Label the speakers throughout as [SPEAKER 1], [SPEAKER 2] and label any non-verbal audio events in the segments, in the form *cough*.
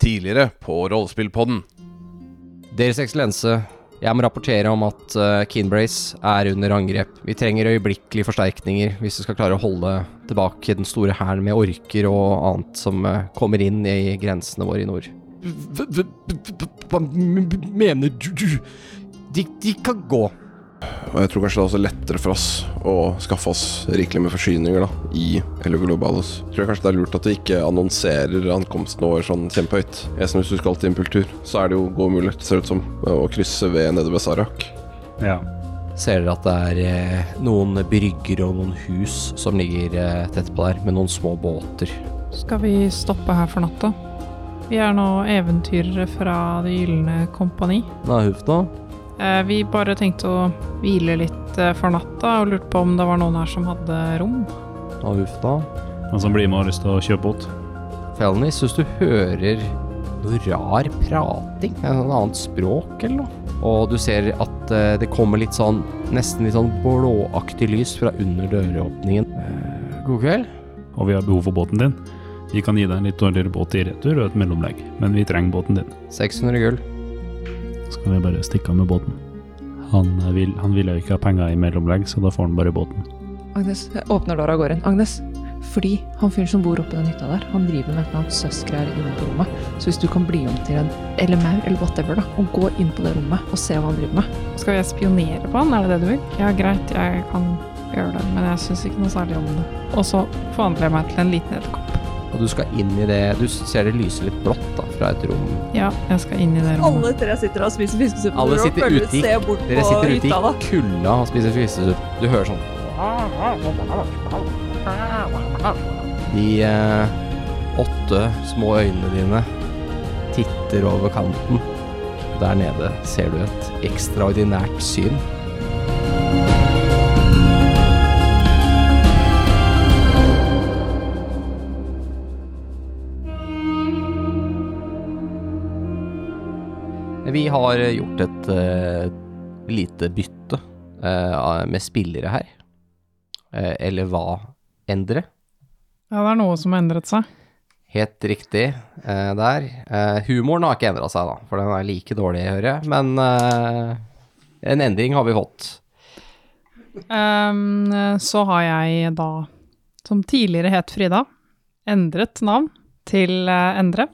[SPEAKER 1] tidligere på Rollespillpodden.
[SPEAKER 2] Deres eksellense, jeg må rapportere om at eh, Kinbrace er under angrep. Vi trenger øyeblikkelige forsterkninger hvis vi skal klare å holde tilbake den store hæren med orker og annet som eh, kommer inn i grensene våre i nord.
[SPEAKER 3] Hva, hva, hva, hva mener du, du
[SPEAKER 2] De, de kan gå.
[SPEAKER 1] Og jeg tror kanskje det er også lettere for oss å skaffe oss rikelig med forsyninger da, i Hello Globalus. Tror jeg kanskje det er lurt at vi ikke annonserer ankomsten vår sånn kjempehøyt. Jeg synes hvis du skal til Impultur, så er det jo gode muligheter, ser det ut som, å krysse ved nede ved Sarak.
[SPEAKER 4] Ja.
[SPEAKER 2] Ser dere at det er eh, noen brygger og noen hus som ligger eh, tett på der, med noen små båter.
[SPEAKER 5] Skal vi stoppe her for natta? Vi er nå eventyrere fra Det gylne kompani.
[SPEAKER 2] Hva er nå?
[SPEAKER 5] Eh, Vi bare tenkte å hvile litt eh, for natta og lurte på om det var noen her som hadde rom.
[SPEAKER 2] Hva er nå?
[SPEAKER 4] Han som blir med, har lyst til å kjøpe båt.
[SPEAKER 2] Felnis, hvis du hører noe rar prating, et sånt annet språk eller noe, og du ser at eh, det kommer litt sånn, nesten litt sånn blåaktig lys fra under døråpningen. Eh, god kveld.
[SPEAKER 4] Og vi har behov for båten din. Vi kan gi deg en litt dårligere båt i retur og et mellomlegg, men vi trenger båten din.
[SPEAKER 2] 600 gull.
[SPEAKER 4] Skal vi bare stikke av med båten? Han, eh, vil, han ville jo ikke ha penger i mellomlegg, så da får han bare båten.
[SPEAKER 6] Agnes jeg åpner døra og går inn. Agnes, fordi han fyren som bor oppe i den hytta der, han driver med et eller annet søskgreier inne på rommet. Så hvis du kan bli om til en eller maur eller whatever, da, og gå inn på det rommet og se hva han driver med
[SPEAKER 5] Skal jeg spionere på han, er det det du vil? Ja, greit, jeg kan gjøre det, men jeg syns ikke noe særlig om det. Og så forvandler jeg meg til en liten edderkopp.
[SPEAKER 2] Og du skal inn i det, du ser det lyser litt blått da, fra et rom.
[SPEAKER 5] Ja, jeg skal inn i det rommet.
[SPEAKER 7] Alle tre sitter og spiser fiskesuppe
[SPEAKER 2] Alle
[SPEAKER 7] og
[SPEAKER 2] sitter
[SPEAKER 7] følger-
[SPEAKER 2] ute i-
[SPEAKER 7] ser bort
[SPEAKER 2] Dere
[SPEAKER 7] på
[SPEAKER 2] sitter ute
[SPEAKER 7] hytta, da.
[SPEAKER 2] i kulda og spiser fistesuppe. Du hører sånn. De eh, åtte små øynene dine titter over kanten. Der nede ser du et ekstraordinært syn. Vi har eh, gjort et eh, lite bytte eh, med spillere her. Eh, eller hva endre?
[SPEAKER 5] Ja, det er noe som har endret seg.
[SPEAKER 2] Helt riktig eh, der. Eh, humoren har ikke endra seg, da, for den er like dårlig, hører jeg. Men eh, en endring har vi fått.
[SPEAKER 5] Ehm, så har jeg da, som tidligere het Frida, endret navn til eh, Endre.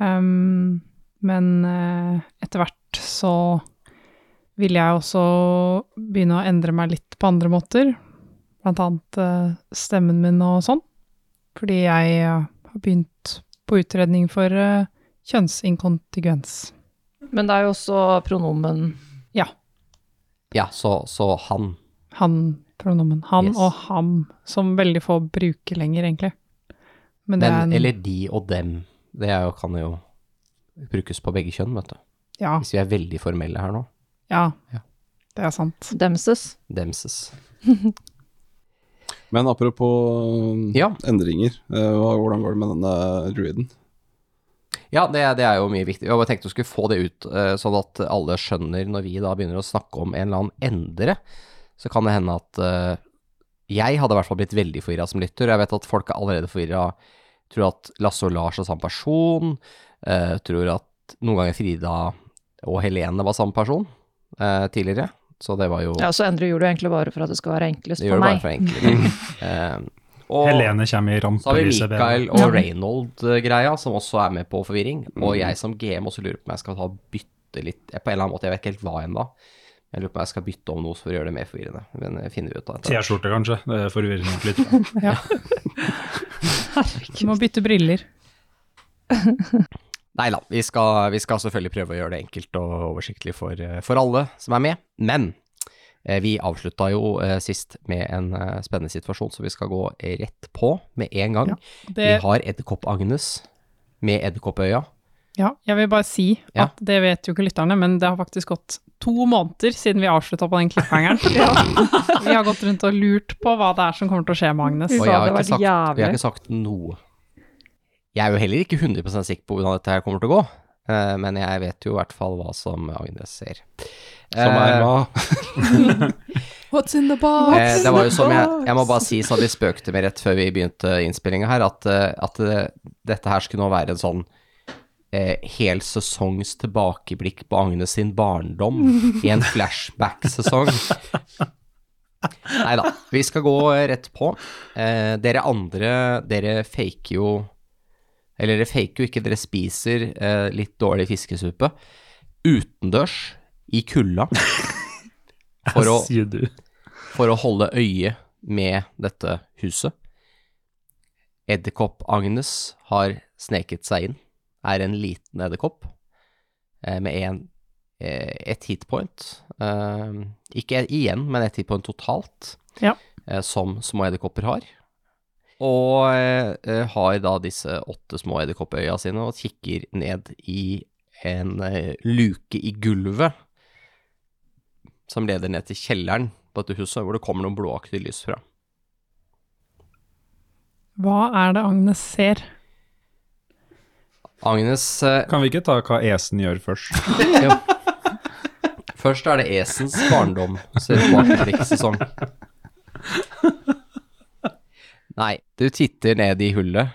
[SPEAKER 5] Ehm, men eh, etter hvert så ville jeg også begynne å endre meg litt på andre måter. Blant annet eh, stemmen min og sånn. Fordi jeg eh, har begynt på utredning for eh, kjønnsinkontingens.
[SPEAKER 6] Men det er jo også pronomen
[SPEAKER 2] Ja, så, så han.
[SPEAKER 5] Han-pronomen. Han
[SPEAKER 2] Yes.
[SPEAKER 5] og ham, som veldig få bruker lenger, egentlig. Men det er
[SPEAKER 2] Den,
[SPEAKER 5] en-
[SPEAKER 2] eller de og dem. Det er jo, kan jo brukes på begge kjønn, vet du.
[SPEAKER 5] Ja,
[SPEAKER 2] Hvis vi er veldig formelle her nå.
[SPEAKER 5] ja.
[SPEAKER 2] Ja.
[SPEAKER 5] Det er
[SPEAKER 2] *laughs*
[SPEAKER 5] sant.
[SPEAKER 6] demses.
[SPEAKER 2] Demses.
[SPEAKER 1] Men apropos
[SPEAKER 2] Ja.
[SPEAKER 1] endringer, eh, hvordan går det med denne druiden?
[SPEAKER 2] Ja, det, det er jo mye viktig. Jeg bare tenkte jeg skulle få det ut, eh, sånn at alle skjønner når vi da begynner å snakke om en eller annen endre, så kan det hende at eh, jeg hadde i hvert fall blitt veldig forvirra som lytter. og Jeg vet at folk er allerede forvirra. Tror at Lasse og Lars er samme person. eh, tror at noen ganger Frida og Helene var samme person eh, tidligere. Så det var jo
[SPEAKER 6] Ja, så endrer gjorde du egentlig bare for at det skal være enklest
[SPEAKER 2] Det
[SPEAKER 6] for
[SPEAKER 2] gjør det bare
[SPEAKER 6] meg.
[SPEAKER 2] for
[SPEAKER 6] *laughs*
[SPEAKER 2] enklere. Eh, og-
[SPEAKER 4] Helene kommer i
[SPEAKER 2] så har vi
[SPEAKER 4] rampelyset.
[SPEAKER 2] Mikael
[SPEAKER 5] Ja.
[SPEAKER 2] og Reynold-greia, som også er med på forvirring. Og jeg som GM også lurer på om jeg skal ta og bytte litt jeg- På en eller annen måte, jeg vet ikke helt hva ennå. Jeg lurer på om jeg skal bytte om noe for å gjøre det mer forvirrende. Men det finner vi ut av etter.
[SPEAKER 4] T-skjorte, kanskje. Det forvirrer nok litt.
[SPEAKER 5] Du må bytte briller.
[SPEAKER 2] Nei da, vi skal, vi skal selvfølgelig prøve å gjøre det enkelt og oversiktlig for, eh, for alle som er med. Men eh, vi avslutta jo eh, sist med en eh, spennende situasjon, så vi skal gå rett på med en gang.
[SPEAKER 5] Ja,
[SPEAKER 2] Vi
[SPEAKER 5] Det,
[SPEAKER 2] har Edderkopp-Agnes med edderkoppøya.
[SPEAKER 5] ja, jeg vil bare si
[SPEAKER 2] Ja.
[SPEAKER 5] at det vet jo ikke lytterne, men det har faktisk gått to måneder siden vi avslutta på den
[SPEAKER 2] *laughs*
[SPEAKER 5] cliffhangeren. *laughs* Vi har gått rundt og lurt på hva det er som kommer til å skje med Agnes.
[SPEAKER 6] Fy
[SPEAKER 2] Og
[SPEAKER 6] faen,
[SPEAKER 2] jeg har,
[SPEAKER 6] det
[SPEAKER 2] ikke
[SPEAKER 6] var
[SPEAKER 2] sagt, og jeg har
[SPEAKER 6] jævlig.
[SPEAKER 2] ikke sagt noe. Jeg er jo heller ikke 100 sikker på hvordan dette her kommer til å gå, eh, men jeg vet jo i hvert fall hva som Agnes ser.
[SPEAKER 1] Som er
[SPEAKER 2] Eh,
[SPEAKER 1] hva?
[SPEAKER 7] What's in the box?
[SPEAKER 2] eh, Det var jo som jeg, jeg må bare si, som vi spøkte med rett før vi begynte innspillinga her, at, eh, at eh, dette her skulle nå være en sånn eh, hel sesongs tilbakeblikk på Agnes sin barndom i en flashback-sesong. Nei da, vi skal gå eh, rett på. Eh, dere andre, dere faker jo Eller dere faker jo ikke, dere spiser eh, litt dårlig fiskesuppe utendørs i kulda *laughs* for å,
[SPEAKER 4] As you do.
[SPEAKER 2] for å holde øye med dette huset. Edderkopp-Agnes har sneket seg inn, er en liten edderkopp eh, med en, eh, et hitpoint. Eh, Ikke igjen, men et hitpoint totalt,
[SPEAKER 5] Ja.
[SPEAKER 2] eh, som små edderkopper har. Og eh, eh, har da disse åtte små edderkoppøya sine og kikker ned i en eh, luke i gulvet som leder ned til kjelleren på dette huset, hvor det kommer noen blåaktige lys fra.
[SPEAKER 5] Hva er det Agnes ser?
[SPEAKER 2] Agnes eh,
[SPEAKER 8] Kan vi ikke ta hva esen gjør
[SPEAKER 2] *laughs*
[SPEAKER 8] først?
[SPEAKER 2] Jo. Først er det Esens barndom, så er det baktrikksesong. Nei, du titter ned i hullet.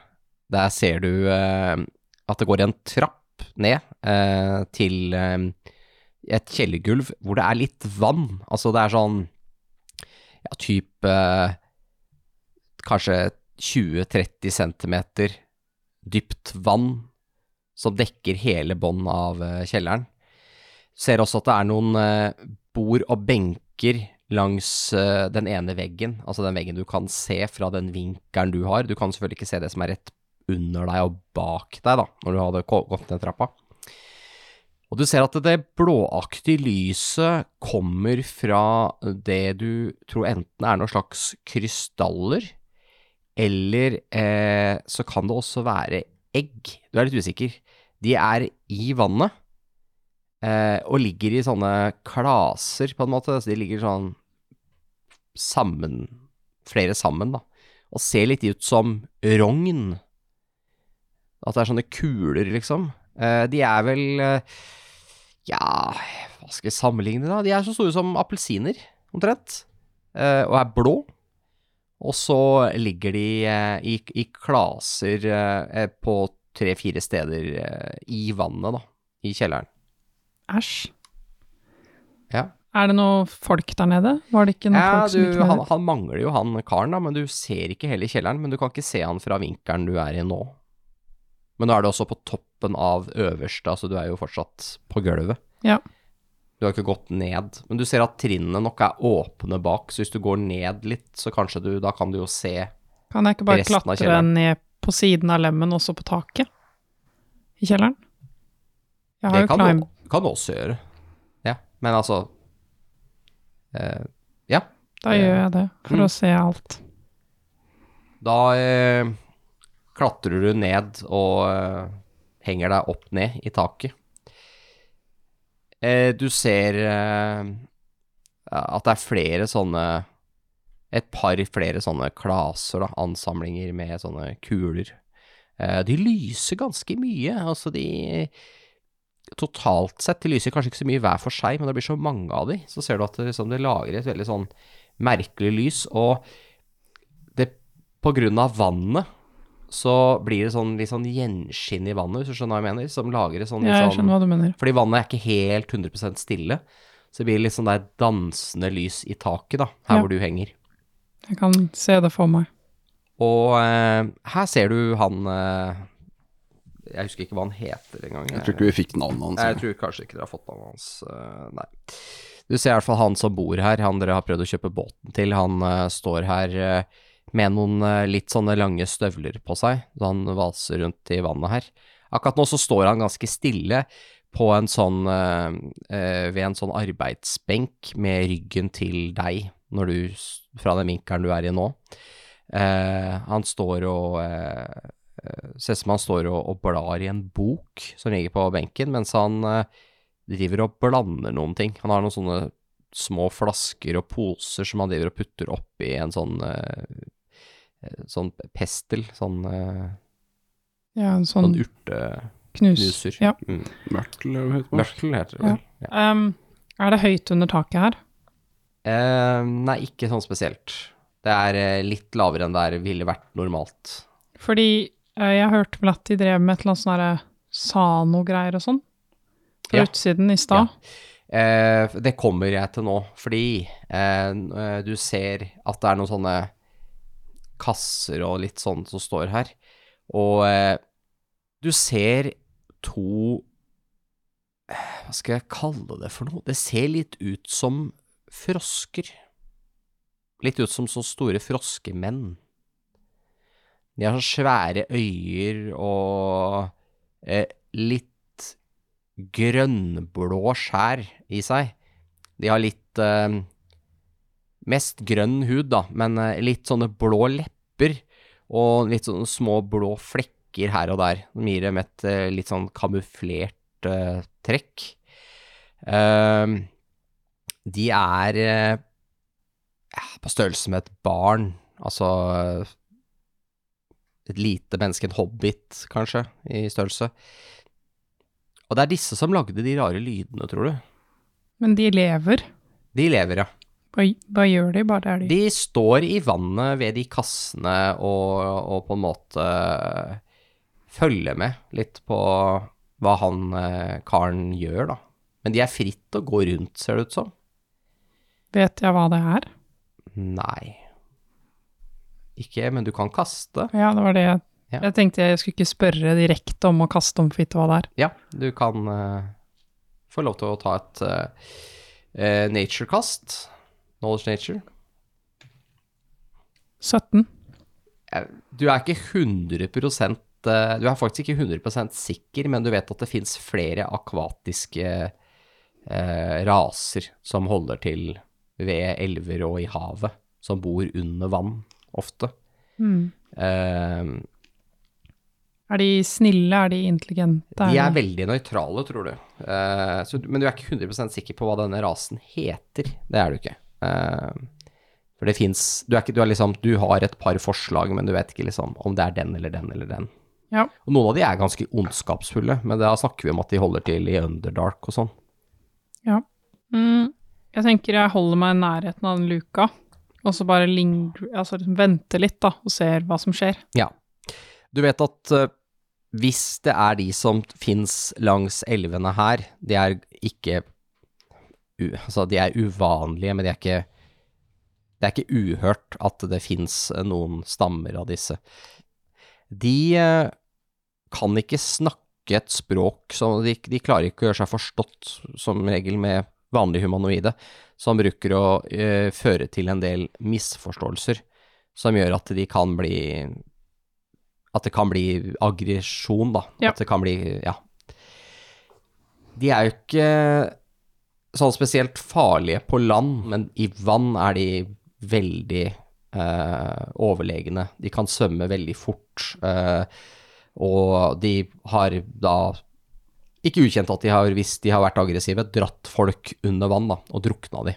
[SPEAKER 2] Der ser du eh, at det går en trapp ned eh, til eh, et kjellergulv hvor det er litt vann. Altså det er sånn ja, type eh, kanskje 20-30 centimeter dypt vann som dekker hele bånd av eh, kjelleren. Ser også at det er noen eh, bord og benker langs eh, den ene veggen, altså den veggen du kan se fra den vinkelen du har. Du kan selvfølgelig ikke se det som er rett under deg og bak deg, da, når du hadde gå- gått ned trappa. Og du ser at det blåaktige lyset kommer fra det du tror enten er noen slags krystaller, eller eh, så kan det også være egg. Du er litt usikker. De er i vannet, eh, og ligger i sånne klaser, på en måte. Så de ligger sånn sammen, flere sammen, da. Og ser litt ut som rogn. At det er sånne kuler, liksom. Eh, de er vel eh, Ja, hva skal jeg sammenligne, da? De er så store som appelsiner, omtrent. Eh, og er blå. Og så ligger de eh, i, i klaser eh, på tre-fire steder eh, i vannet, da. I kjelleren.
[SPEAKER 5] Æsj.
[SPEAKER 2] Ja.
[SPEAKER 5] Er det noe folk der nede? Var det ikke noe
[SPEAKER 2] Ja,
[SPEAKER 5] folk som
[SPEAKER 2] du,
[SPEAKER 5] gikk
[SPEAKER 2] han,
[SPEAKER 5] ned?
[SPEAKER 2] han mangler jo han karen, da, men du ser ikke hele kjelleren. Men du kan ikke se han fra vinkelen du er i nå. Men nå er du også på toppen av øverste, altså du er jo fortsatt på gulvet.
[SPEAKER 5] Ja.
[SPEAKER 2] Du har ikke gått ned, men du ser at trinnene nok er åpne bak, så hvis du går ned litt, så kanskje du Da kan du jo se
[SPEAKER 5] Kan jeg ikke bare
[SPEAKER 2] resten av
[SPEAKER 5] klatre
[SPEAKER 2] kjelleren.
[SPEAKER 5] ned på siden av lemmen, også på taket? I kjelleren? Jeg har
[SPEAKER 2] Det
[SPEAKER 5] jo
[SPEAKER 2] kan
[SPEAKER 5] climb.
[SPEAKER 2] du, kan du også gjøre. Ja, men altså eh, Ja.
[SPEAKER 5] Da gjør jeg det, for
[SPEAKER 2] Mm.
[SPEAKER 5] å se alt.
[SPEAKER 2] Da eh, klatrer du ned og eh, henger deg opp ned i taket. Eh, du ser eh, at det er flere sånne Et par flere sånne klaser, da, ansamlinger med sånne kuler. Eh, de lyser ganske mye. Altså, de Totalt sett, de lyser kanskje ikke så mye hver for seg, men det blir så mange av de, så ser du at det, liksom, det lager et veldig sånn merkelig lys. Og det, på grunn av vannet, så blir det sånn litt sånn gjenskinn i vannet, hvis du skjønner hva jeg mener, som lager et sånn
[SPEAKER 5] Ja, jeg
[SPEAKER 2] litt sånn
[SPEAKER 5] skjønner hva du mener.
[SPEAKER 2] fordi vannet er ikke helt 100 stille. Så det blir litt sånn der dansende lys i taket, da, her hvor
[SPEAKER 5] Ja.
[SPEAKER 2] du henger.
[SPEAKER 5] Jeg kan se det for meg.
[SPEAKER 2] Og eh, her ser du han eh, Jeg husker ikke hva han heter engang.
[SPEAKER 3] Jeg tror ikke vi fikk navnet
[SPEAKER 2] Nei, jeg
[SPEAKER 3] hans.
[SPEAKER 2] tror kanskje ikke dere har fått navnet hans. eh, nei. Du ser i hvert fall han som bor her, han dere har prøvd å kjøpe båten til. Han eh, står her eh, med noen eh, litt sånne lange støvler på seg, så han vaser rundt i vannet her. Akkurat nå så står han ganske stille på en sånn, eh, eh, ved en sånn arbeidsbenk med ryggen til deg, når du, s- fra den vinkelen du er i nå. Eh, han står og eh, eh, Ser ut som han står og, og blar i en bok som ligger på benken, mens han eh, driver og blander noen ting. Han har noen sånne små flasker og poser som han driver og putter oppi en sånn eh, eh, Sånn pestel, sånn, eh,
[SPEAKER 5] Ja, en sånn
[SPEAKER 2] sånn urteknuser.
[SPEAKER 5] knus. Ja.
[SPEAKER 2] Mm.
[SPEAKER 3] Mørtel, eller hva heter
[SPEAKER 2] *laughs*
[SPEAKER 3] det?
[SPEAKER 2] Mørtel heter det vel. Ja.
[SPEAKER 5] Um, er det høyt under taket her?
[SPEAKER 2] Eh, nei, ikke sånn spesielt. Det er eh, litt lavere enn det er ville vært normalt.
[SPEAKER 5] Fordi eh, jeg hørte vel at de drev med et eller annet sånn herre sa noe greier og sånn. På
[SPEAKER 2] Ja.
[SPEAKER 5] utsiden i stad.
[SPEAKER 2] Eh, det kommer jeg til nå, fordi eh, n- eh, du ser at det er noen sånne kasser og litt sånn som står her. Og eh, du ser to eh, Hva skal jeg kalle det for noe? Det ser litt ut som frosker. Litt ut som så store froskemenn. De har så svære øyer og eh, litt grønnblå skjær i seg. De har litt eh, Mest grønn hud, da, men eh, litt sånne blå lepper. Og litt sånne små blå flekker her og der. Som gir dem et eh, litt sånn kamuflert eh, trekk. Eh, de er eh, ja, på størrelse med et barn. Altså eh, et lite menneske, en hobbit, kanskje, i størrelse. Og det er disse som lagde de rare lydene, tror du?
[SPEAKER 5] Men de lever.
[SPEAKER 2] De lever, ja.
[SPEAKER 5] Hva, hva gjør de? Bare er de
[SPEAKER 2] De står i vannet ved de kassene og, og på en måte eh, følger med litt på hva han eh, karen gjør, da. Men de er fritt å gå rundt, ser det ut som.
[SPEAKER 5] Vet jeg hva det er?
[SPEAKER 2] Nei. Ikke, men du kan kaste.
[SPEAKER 5] Ja, det var det jeg
[SPEAKER 2] Ja.
[SPEAKER 5] Jeg tenkte jeg skulle ikke spørre direkte om å kaste om fitte hva det er.
[SPEAKER 2] Ja, du kan eh, få lov til å ta et eh, eh, nature-kast. Knowledge nature.
[SPEAKER 5] 17.
[SPEAKER 2] du er ikke 100 eh, Du er faktisk ikke 100 sikker, men du vet at det fins flere akvatiske eh, raser som holder til ved elver og i havet, som bor under vann ofte.
[SPEAKER 5] Mm.
[SPEAKER 2] Eh,
[SPEAKER 5] Er de snille? Er de intelligente?
[SPEAKER 2] de er veldig nøytrale, tror du. Eh, så, du- men du er ikke 100 sikker på hva denne rasen heter. Det er du ikke. Eh, for det fins du, er ikke- du, er liksom, du har et par forslag, men du vet ikke liksom, om det er den eller den eller den.
[SPEAKER 5] Ja.
[SPEAKER 2] Og noen av de er ganske ondskapsfulle, men da snakker vi om at de holder til i Underdark og sånn.
[SPEAKER 5] Ja. Mm, jeg tenker jeg holder meg i nærheten av den luka, og så bare linger, altså liksom venter litt da, og ser hva som skjer.
[SPEAKER 2] Ja. Du vet at eh, hvis det er de som fins langs elvene her, de er ikke u, Altså, de er uvanlige, men de er ikke Det er ikke uhørt at det fins noen stammer av disse. De eh, kan ikke snakke et språk som de, de klarer ikke å gjøre seg forstått, som regel med vanlige humanoide, som bruker å eh, føre til en del misforståelser, som gjør at de kan bli at det kan bli aggresjon, da.
[SPEAKER 5] Ja.
[SPEAKER 2] At det kan bli Ja. De er jo ikke sånn spesielt farlige på land, men i vann er de veldig eh, overlegne. De kan svømme veldig fort, eh, og de har da ikke ukjent at de har, hvis de har vært aggressive, dratt folk under vann da, og drukna de.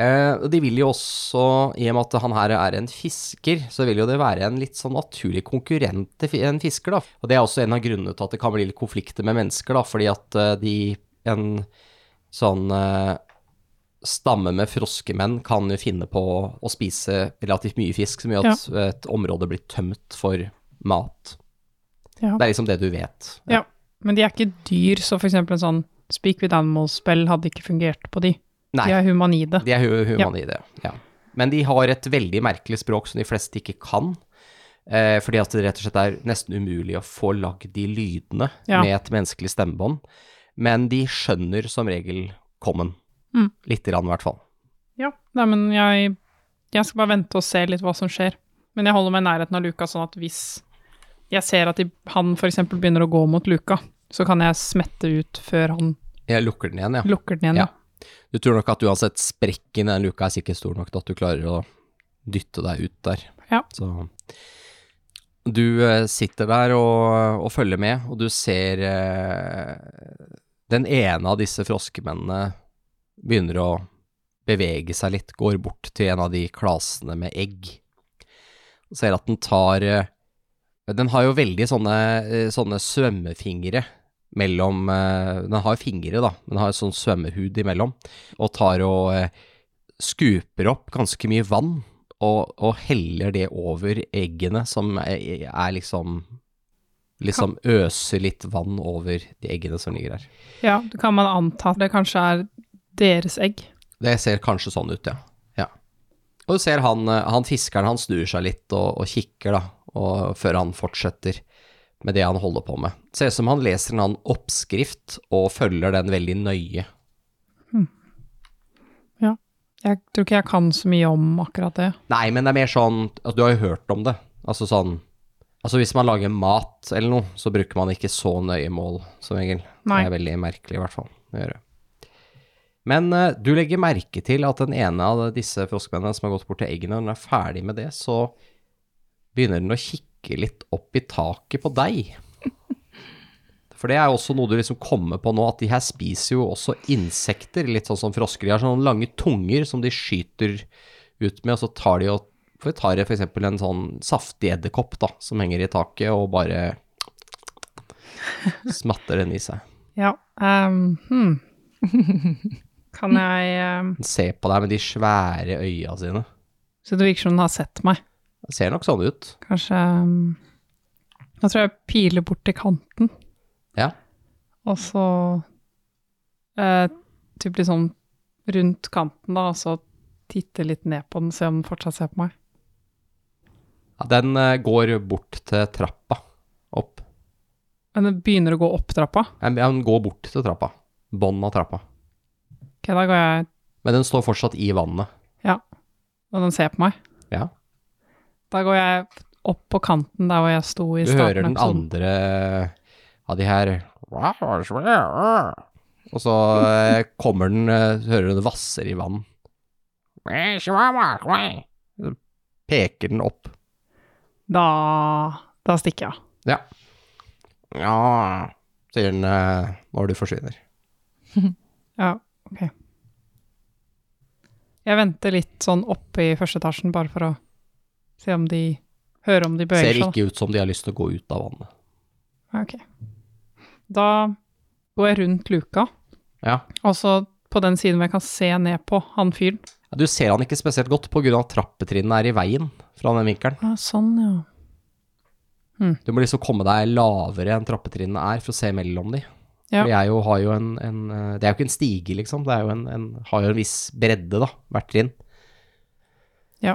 [SPEAKER 2] Eh, og de vil jo også, i og med at han her er en fisker, så vil jo det være en litt sånn naturlig konkurrent til fi- en fisker, da. Og det er også en av grunnene til at det kan bli litt konflikter med mennesker, da, fordi at eh, de En sånn eh, stamme med froskemenn kan jo finne på å spise relativt mye fisk, som gjør at et område blir tømt for mat. Det
[SPEAKER 5] Ja.
[SPEAKER 2] er liksom det du vet.
[SPEAKER 5] Ja. Men de er ikke dyr, så for eksempel en sånn Speak with Animals-spill hadde ikke fungert på de.
[SPEAKER 2] Nei.
[SPEAKER 5] De er humanide.
[SPEAKER 2] *laughs* De er hu- humanoide, ja. Men de har et veldig merkelig språk som de fleste ikke kan. Eh, fordi at det rett og slett er nesten umulig å få lagd de lydene
[SPEAKER 5] Ja.
[SPEAKER 2] med et menneskelig stemmebånd. Men de skjønner som regel kommen.
[SPEAKER 5] Mm.
[SPEAKER 2] Litt grann, i hvert fall.
[SPEAKER 5] Ja, nei, men jeg, jeg skal bare vente og se litt hva som skjer. Men jeg holder meg i nærheten av luka, sånn at hvis jeg ser at de, han for eksempel begynner å gå mot luka, så kan jeg smette ut før han
[SPEAKER 2] Jeg lukker den igjen, ja.
[SPEAKER 5] lukker den igjen.
[SPEAKER 2] Ja. Du tror nok at uansett sprekken i den luka er sikkert stor nok til at du klarer å dytte deg ut der.
[SPEAKER 5] Ja.
[SPEAKER 2] Så du eh, sitter der og, og følger med, og du ser eh, den ene av disse froskemennene begynner å bevege seg litt, går bort til en av de klasene med egg. Og ser at den tar eh, Den har jo veldig sånne, eh, sånne svømmefingre mellom eh, Den har jo fingre, da, men den har sånn svømmehud imellom. Og tar og eh, skuper opp ganske mye vann og, og heller det over eggene som er, er liksom liksom øser litt vann over de eggene som ligger her.
[SPEAKER 5] Ja, det kan man anta at det kanskje er deres egg.
[SPEAKER 2] Det ser kanskje sånn ut, ja. ja. Og du ser han, eh, han fiskeren, han snur seg litt og, og kikker, da, og, før han fortsetter med det han holder på med. Ser ut som han leser en annen oppskrift og følger den veldig nøye.
[SPEAKER 5] Jeg tror ikke jeg kan så mye om akkurat det.
[SPEAKER 2] Nei, men det er mer sånn altså, Du har jo hørt om det. Altså sånn Altså hvis man lager mat eller noe, så bruker man ikke så nøye mål som regel.
[SPEAKER 5] Nei.
[SPEAKER 2] Det er veldig merkelig i hvert fall å gjøre. Men eh, du legger merke til at den ene av disse froskmennene som har gått bort til eggene, når den er ferdig med det, så begynner den å kikke litt opp i taket på deg. *laughs* For det er jo også noe du liksom kommer på nå, at de her spiser jo også insekter, litt sånn som frosker. De har sånne lange tunger som de skyter ut med, og så tar de og for vi tar f.eks. en sånn saftig edderkopp da, som henger i taket, og bare smatter den i seg.
[SPEAKER 5] Ja. ehm, hmm. Kan jeg ehm,
[SPEAKER 2] Den ser på deg med de svære øya sine.
[SPEAKER 5] Så det virker som den har sett meg.
[SPEAKER 2] Det ser nok sånn ut.
[SPEAKER 5] Kanskje ehm, Da tror jeg jeg piler bort til kanten,
[SPEAKER 2] Ja.
[SPEAKER 5] og så eh, Typ litt sånn rundt kanten, da, og så titte litt ned på den, se om den fortsatt ser på meg.
[SPEAKER 2] Ja, Den eh, går bort til trappa. Opp.
[SPEAKER 5] Men den begynner å gå opp trappa.
[SPEAKER 2] Ja, men Den går bort til trappa. Bånn av trappa.
[SPEAKER 5] Ok, da går jeg
[SPEAKER 2] Men den står fortsatt i vannet.
[SPEAKER 5] Og den ser på meg.
[SPEAKER 2] Ja.
[SPEAKER 5] Da går jeg opp på kanten der hvor jeg sto i
[SPEAKER 2] Du
[SPEAKER 5] starten. liksom.
[SPEAKER 2] hører den
[SPEAKER 5] sånn. av episoden.
[SPEAKER 2] andre av de her Og så
[SPEAKER 5] *laughs*
[SPEAKER 2] eh, kommer den eh, Hører du det vasser i vann. Så Peker den opp.
[SPEAKER 5] Da, da stikker jeg av.
[SPEAKER 2] Ja. Ja Sier den eh, når du forsvinner.
[SPEAKER 5] Ja, ok. Jeg venter litt sånn oppe i første etasjen, bare for å se om de Høre om de
[SPEAKER 2] Ser
[SPEAKER 5] beveger seg.
[SPEAKER 2] ikke ut som de har lyst til å gå ut av vannet.
[SPEAKER 5] da. Ok. Da går jeg rundt luka,
[SPEAKER 2] Ja.
[SPEAKER 5] og så Altså, på den siden hvor jeg kan se ned på han fyren.
[SPEAKER 2] Ja, Du ser han ikke spesielt godt pga. at trappetrinnene er i veien fra den vinkelen.
[SPEAKER 5] Ah, sånn, ja.
[SPEAKER 2] Du må liksom komme deg lavere enn trappetrinnene er for å se mellom de.
[SPEAKER 5] Ja.
[SPEAKER 2] For jeg jo har jo en, en eh, Det er jo ikke en stige, liksom. Det er jo en, en, har jo en viss bredde, da, hvert trinn.
[SPEAKER 5] Ja.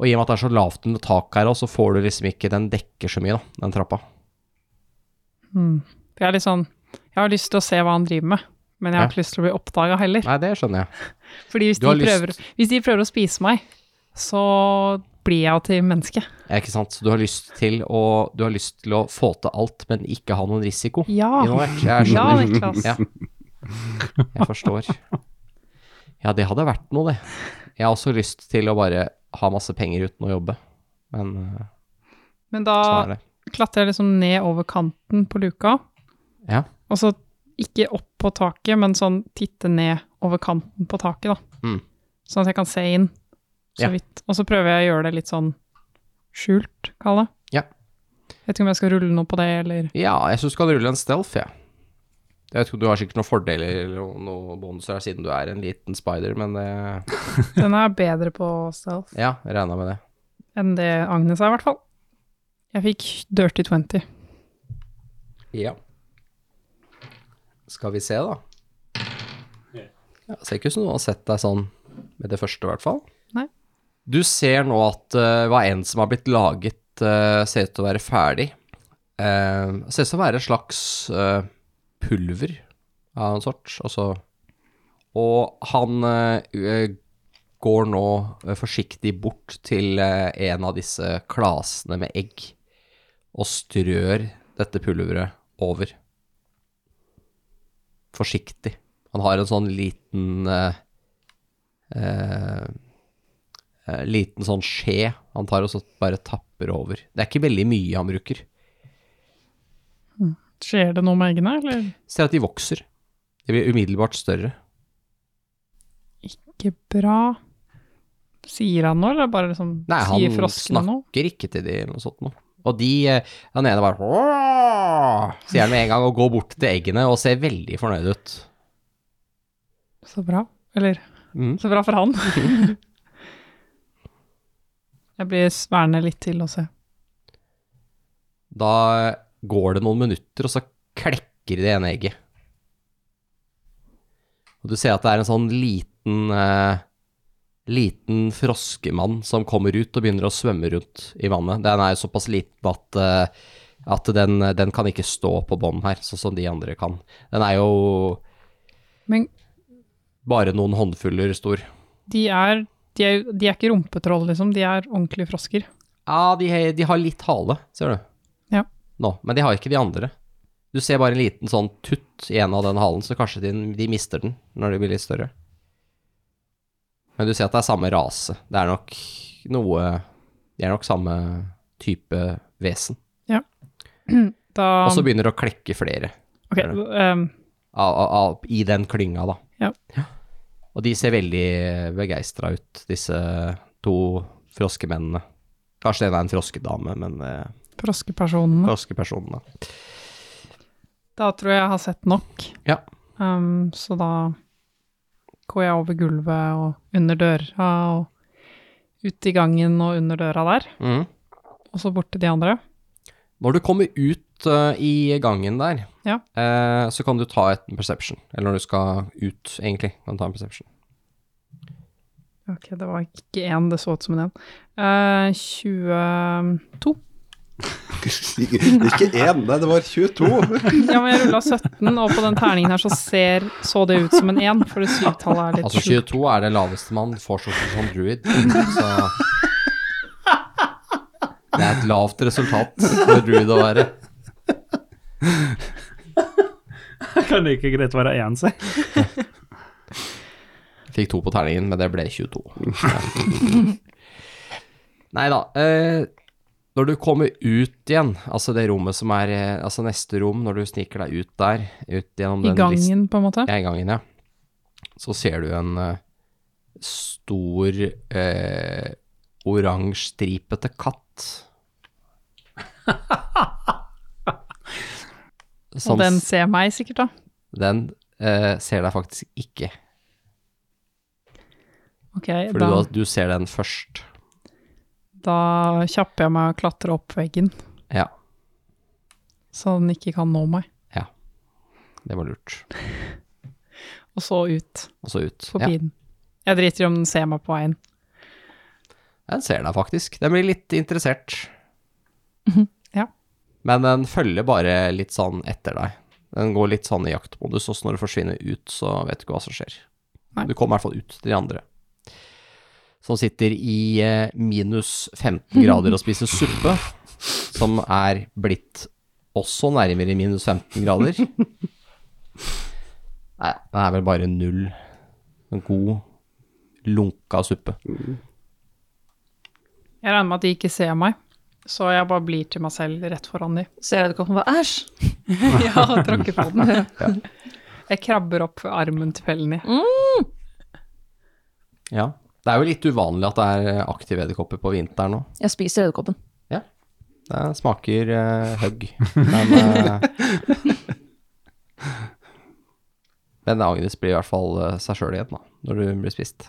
[SPEAKER 2] Og i og med at det er så lavt under taket her, også, så får du liksom ikke Den dekker så mye, da, den trappa.
[SPEAKER 5] Mm. For jeg er litt sånn Jeg har lyst til å se hva han driver med, men jeg har
[SPEAKER 2] Ja.
[SPEAKER 5] ikke lyst til å bli oppdaga heller.
[SPEAKER 2] Nei, det skjønner jeg.
[SPEAKER 5] Fordi hvis
[SPEAKER 2] Du
[SPEAKER 5] de,
[SPEAKER 2] har
[SPEAKER 5] prøver,
[SPEAKER 2] lyst
[SPEAKER 5] hvis de prøver å spise meg, så blir jeg jo til menneske.
[SPEAKER 2] ja, Ikke sant. Så du har lyst til å Du har lyst til å få til alt, men ikke ha noen risiko.
[SPEAKER 5] Ja.
[SPEAKER 2] involvert. Jeg
[SPEAKER 5] Ja,
[SPEAKER 2] skjønner.
[SPEAKER 5] Niklas.
[SPEAKER 2] Ja. Jeg forstår. Ja, det hadde vært noe, det. Jeg har også lyst til å bare ha masse penger uten å jobbe, men eh, sånn
[SPEAKER 5] Men da
[SPEAKER 2] er det.
[SPEAKER 5] klatrer jeg liksom ned over kanten på luka,
[SPEAKER 2] Ja.
[SPEAKER 5] og så ikke opp på taket, men sånn titte ned over kanten på taket, da.
[SPEAKER 2] Mm.
[SPEAKER 5] Sånn at jeg kan se inn, så
[SPEAKER 2] Ja.
[SPEAKER 5] vidt. Og så prøver jeg å gjøre det litt sånn skjult, kall det.
[SPEAKER 2] Ja.
[SPEAKER 5] Jeg vet ikke om jeg skal rulle noe på
[SPEAKER 2] *laughs*
[SPEAKER 5] det, eller
[SPEAKER 2] Ja, jeg syns du kan rulle en stealth, jeg. Jeg vet ikke, Du har sikkert noen fordeler eller noen- noen bonuser her, siden du er en liten spider, men det
[SPEAKER 5] Den er bedre på stealth
[SPEAKER 2] Ja, regna med det.
[SPEAKER 5] enn det Agnes er, i hvert fall. Jeg fikk dirty 20.
[SPEAKER 2] Ja. Skal vi se, da. Ja, ser ikke ut som noen har sett deg sånn med det første, i hvert fall.
[SPEAKER 5] Nei.
[SPEAKER 2] Du ser nå at eh, hva enn som har blitt laget, eh, ser ut til å være ferdig. Eh, ser ut til å være et slags eh, pulver av en sort, altså. Og han eh, eh, går nå eh, forsiktig bort til eh, en av disse klasene med egg og strør dette pulveret over. Forsiktig. Han har en sånn liten eh, eh, eh, Liten sånn skje han tar og så bare tapper over. Det er ikke veldig mye han bruker.
[SPEAKER 5] Skjer det noe med eggene, eller?
[SPEAKER 2] Ser at de vokser. De blir umiddelbart større.
[SPEAKER 5] Ikke bra. Sier han noe, eller bare liksom
[SPEAKER 2] Nei,
[SPEAKER 5] sier
[SPEAKER 2] han
[SPEAKER 5] froskene noe?
[SPEAKER 2] snakker ikke til de eller noe sånt noe. Og de eh, Han ene bare «Åh!» sier han med en gang og går bort til eggene og ser veldig fornøyd ut.
[SPEAKER 5] Så bra. Eller
[SPEAKER 2] Mm.
[SPEAKER 5] så bra for *laughs* han. jeg blir sværende litt til å se.
[SPEAKER 2] Da går det noen minutter, og så klekker det ene egget. Og du ser at det er en sånn liten eh, liten froskemann som kommer ut og begynner å svømme rundt i vannet. Den er såpass liten at, eh, at den, den kan ikke stå på bånd her, sånn som de andre kan. Den er jo
[SPEAKER 5] Men
[SPEAKER 2] bare noen håndfuller stor.
[SPEAKER 5] de er, de er, jo- de er ikke rumpetroll, liksom. De er ordentlige frosker.
[SPEAKER 2] Ja, de, he- de har litt hale, ser du.
[SPEAKER 5] Ja.
[SPEAKER 2] Nå, men de har ikke de andre. Du ser bare en liten sånn tutt i en av den halen, så kanskje de, de mister den når de blir litt større. Men du ser at det er samme rase. Det er nok noe De er nok samme type vesen.
[SPEAKER 5] Da
[SPEAKER 2] Og så begynner det å klekke flere
[SPEAKER 5] Ok,
[SPEAKER 2] er
[SPEAKER 5] ehm,
[SPEAKER 2] av, av, av, i den klynga, da.
[SPEAKER 5] Ja.
[SPEAKER 2] Og de ser veldig begeistra ut, disse to froskemennene. Kanskje den er en froskedame, men eh,
[SPEAKER 5] froskepersonene.
[SPEAKER 2] froskepersonene.
[SPEAKER 5] Da tror jeg jeg har sett nok.
[SPEAKER 2] Ja.
[SPEAKER 5] Ehm, så da går jeg over gulvet og under døra og ut i gangen og under døra der,
[SPEAKER 2] Mhm.
[SPEAKER 5] og så bort til de andre.
[SPEAKER 2] Når du kommer ut eh, i gangen der,
[SPEAKER 5] Ja.
[SPEAKER 2] eh, så kan du ta et perception. Eller når du skal ut, egentlig, kan du ta en perception.
[SPEAKER 5] Ok, det var ikke én, det så ut som en én. Eh, 22.
[SPEAKER 1] Ikke én, nei, det var 22.
[SPEAKER 5] Ja, men jeg rulla 17, og på den terningen her så ser, så det ut som en én, for det syvtallet er litt
[SPEAKER 2] Altså
[SPEAKER 5] sjukt.
[SPEAKER 2] 22 er det laveste man får som, som druid, så Det er et lavt resultat for druid å være.
[SPEAKER 4] Kan det ikke greit være én, si?
[SPEAKER 2] Fikk to på terningen, men det ble 22. Nei da. Eh, når du kommer ut igjen, altså det rommet som er eh, Altså neste rom, når du sniker deg ut der, ut gjennom
[SPEAKER 5] I
[SPEAKER 2] den listen
[SPEAKER 5] gangen, på en måte.
[SPEAKER 2] Ja, i gangen, ja. Så ser du en eh, stor eh, oransjestripete katt.
[SPEAKER 5] *laughs* Og
[SPEAKER 2] Som
[SPEAKER 5] den
[SPEAKER 2] Sånn s-
[SPEAKER 5] ser meg sikkert, da.
[SPEAKER 2] den eh, ser deg faktisk ikke,
[SPEAKER 5] Ok,
[SPEAKER 2] fordi
[SPEAKER 5] da,
[SPEAKER 2] du, du ser den først.
[SPEAKER 5] da kjapper jeg meg og klatrer opp veggen,
[SPEAKER 2] Ja,
[SPEAKER 5] så den ikke kan nå meg.
[SPEAKER 2] det var lurt.
[SPEAKER 5] Og så ut,
[SPEAKER 2] Og så ut. Ja,
[SPEAKER 5] forbi den. Jeg driter i om den ser meg på veien.
[SPEAKER 2] den ser deg faktisk. Den blir litt interessert.
[SPEAKER 5] ja.
[SPEAKER 2] Men den følger bare litt sånn etter deg. Den går litt sånn i jaktmodus, og så når du forsvinner ut, så vet du ikke hva som skjer.
[SPEAKER 5] Nei.
[SPEAKER 2] Du kommer i hvert fall ut til de andre. Som sitter i eh, minus 15 grader og spiser suppe, som er blitt også nærmere minus 15 grader. Nei, det er vel bare null. En god, lunka suppe.
[SPEAKER 5] Jeg regner med at de ikke ser meg, så jeg bare blir til meg selv rett foran de.
[SPEAKER 2] *laughs*
[SPEAKER 7] Ser jeg det kommer bare æsj.
[SPEAKER 5] Ja, tråkker på den. Jeg krabber opp armen til Pelny.
[SPEAKER 2] Ja. Det er jo litt uvanlig at det er aktive edderkopper på vinteren nå.
[SPEAKER 6] Jeg spiser edderkoppen.
[SPEAKER 2] Det smaker uh, hugg. Men, eh, men Agnes blir i hvert fall eh, seg sjøl igjen, da, når du blir spist.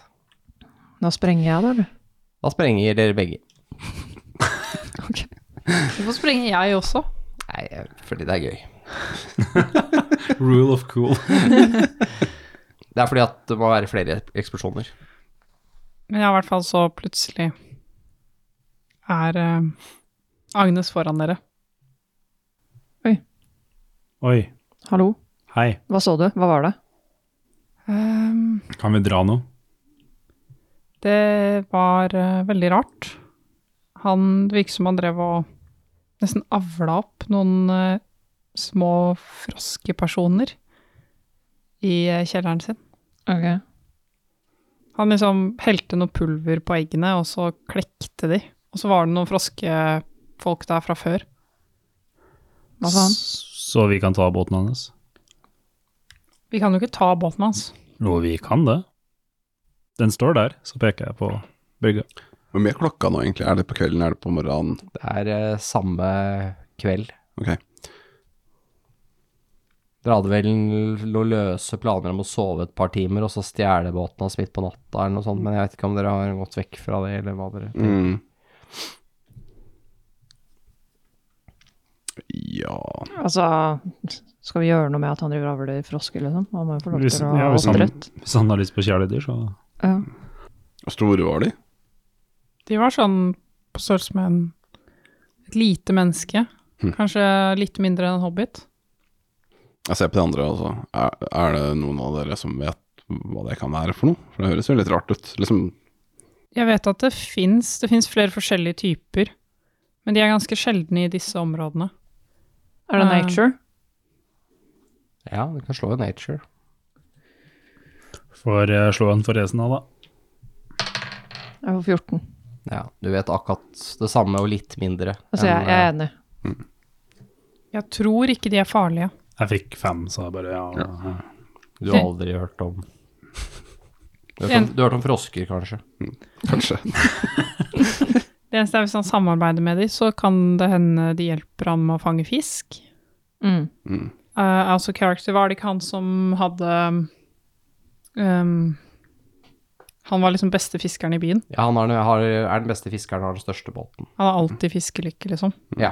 [SPEAKER 6] Nå sprenger jeg, da, eller?
[SPEAKER 2] Da sprenger dere begge.
[SPEAKER 5] Hvorfor sprenger jeg også?
[SPEAKER 2] Nei, eh, fordi det er gøy.
[SPEAKER 8] Rule of cool.
[SPEAKER 2] Det er fordi at det må være flere eksplosjoner.
[SPEAKER 5] Men ja, i hvert fall så plutselig er eh, Agnes foran dere.
[SPEAKER 4] Oi,
[SPEAKER 6] Hallo?
[SPEAKER 4] hei.
[SPEAKER 6] Hva så du? Hva var det?
[SPEAKER 5] Ehm,
[SPEAKER 8] Kan vi dra nå?
[SPEAKER 5] det var eh, veldig rart. Han det virket som han drev og nesten avla opp noen eh, små froskepersoner i eh, kjelleren sin.
[SPEAKER 6] Ok.
[SPEAKER 5] Han liksom helte noe pulver på eggene, og så klekte de. Og så var det noen froskefolk der fra før.
[SPEAKER 6] Hva faen?
[SPEAKER 4] Så vi kan ta båten hans?
[SPEAKER 5] Vi kan jo ikke ta båten hans.
[SPEAKER 4] Jo, vi kan det. Den står der, så peker jeg på brygga.
[SPEAKER 1] Hvor mye er klokka nå, egentlig? Er det på kvelden, er det på morgenen?
[SPEAKER 2] Det er eh, samme kveld.
[SPEAKER 1] Ok.
[SPEAKER 2] Dere hadde vel noen løse planer om å sove et par timer, og så stjele båten hans midt på natta eller noe sånt, men jeg vet ikke om dere har gått vekk fra
[SPEAKER 1] Mm.
[SPEAKER 2] det, eller hva dere
[SPEAKER 1] Mm. Ja
[SPEAKER 6] Altså, skal vi gjøre noe med at han driver og avler frosker, liksom? Han må jo få lov
[SPEAKER 4] Hvis-
[SPEAKER 6] til å ha
[SPEAKER 4] ja, hvis han-
[SPEAKER 6] oppdrett.
[SPEAKER 4] Hvis han har lyst på kjæledyr, så
[SPEAKER 6] Ja.
[SPEAKER 1] Hvor store var de?
[SPEAKER 5] De var sånn på størrelse med en, et lite menneske.
[SPEAKER 1] Hm.
[SPEAKER 5] Kanskje litt mindre enn en hobbit.
[SPEAKER 1] Jeg ser på de andre, altså. Er, er det noen av dere som vet hva det kan være for noe? For det høres jo litt rart ut. Liksom
[SPEAKER 5] Jeg vet at det fins det finnes flere forskjellige typer, men de er ganske sjeldne i disse områdene.
[SPEAKER 6] Er det
[SPEAKER 5] Ja.
[SPEAKER 6] nature?
[SPEAKER 2] Ja, du kan slå i nature.
[SPEAKER 4] får jeg slå en for resen av, da.
[SPEAKER 6] Jeg var 14.
[SPEAKER 2] Ja, du vet akkurat det samme og litt mindre. eh,
[SPEAKER 6] Altså, jeg, jeg er enig.
[SPEAKER 5] Jeg tror ikke de er farlige.
[SPEAKER 4] Jeg fikk fem, så jeg bare ja. ja.
[SPEAKER 2] Du har aldri hørt om Du har hørt om, du har hørt om frosker, kanskje?
[SPEAKER 1] Kanskje.
[SPEAKER 5] Det eneste er hvis han samarbeider med de, så kan det hende de hjelper han med å fange fisk.
[SPEAKER 6] Mm.
[SPEAKER 1] Mm.
[SPEAKER 5] Eh, altså character, var det ikke han som hadde ehm, Han var liksom beste fiskeren i byen.
[SPEAKER 2] Ja, han har, har, er den beste fiskeren og har den største båten.
[SPEAKER 5] Han har alltid fiskelykke, liksom.
[SPEAKER 2] Ja.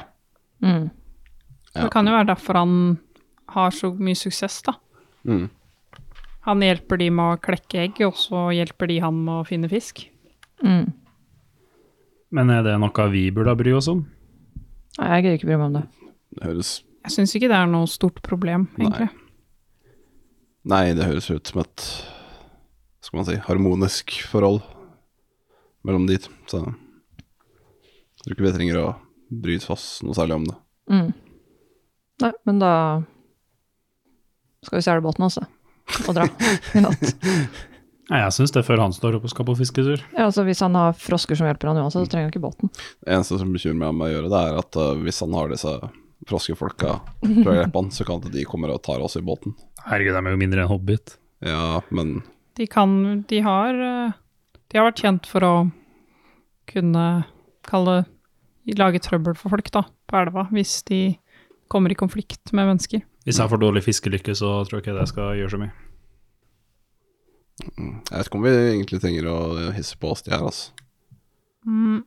[SPEAKER 6] Mm.
[SPEAKER 5] Så Det kan jo være derfor han har så mye suksess, da.
[SPEAKER 1] Mm.
[SPEAKER 5] Han hjelper de med å klekke egg, og så hjelper de han med å finne fisk.
[SPEAKER 6] Mm.
[SPEAKER 4] Men er det noe vi burde bry oss om?
[SPEAKER 6] Nei, jeg gidder ikke bry meg om det.
[SPEAKER 1] Det høres
[SPEAKER 5] Jeg syns ikke det er noe stort problem,
[SPEAKER 1] Nei.
[SPEAKER 5] egentlig.
[SPEAKER 1] Nei, det høres ut som et hva Skal man si harmonisk forhold mellom de to. Så jeg tror ikke vi trenger å bry oss noe særlig om det.
[SPEAKER 6] Mm. Nei, men da skal vi stjele båten hans, da. Og
[SPEAKER 4] *laughs*
[SPEAKER 6] dra i natt.
[SPEAKER 4] Nei, jeg syns det er før han står opp og skal på fisketur.
[SPEAKER 6] Ja, altså, hvis han har frosker som hjelper han uansett, så trenger han ikke båten.
[SPEAKER 1] Det eneste som bekymrer meg med å gjøre det, er at eh, hvis han har disse froskefolka fra Japan, så kan det de kommer og tar oss i båten.
[SPEAKER 4] Herregud, de er jo mindre enn hobbit.
[SPEAKER 1] Ja, men
[SPEAKER 5] De kan De har eh, De har vært kjent for å kunne kalle Lage trøbbel for folk, da, på elva, hvis de kommer i konflikt med mennesker.
[SPEAKER 4] Hvis jeg får dårlig fiskelykke, så tror jeg ikke det skal gjøre så mye.
[SPEAKER 1] jeg vet ikke om vi egentlig trenger å hisse på oss de her, altså.
[SPEAKER 5] Mm.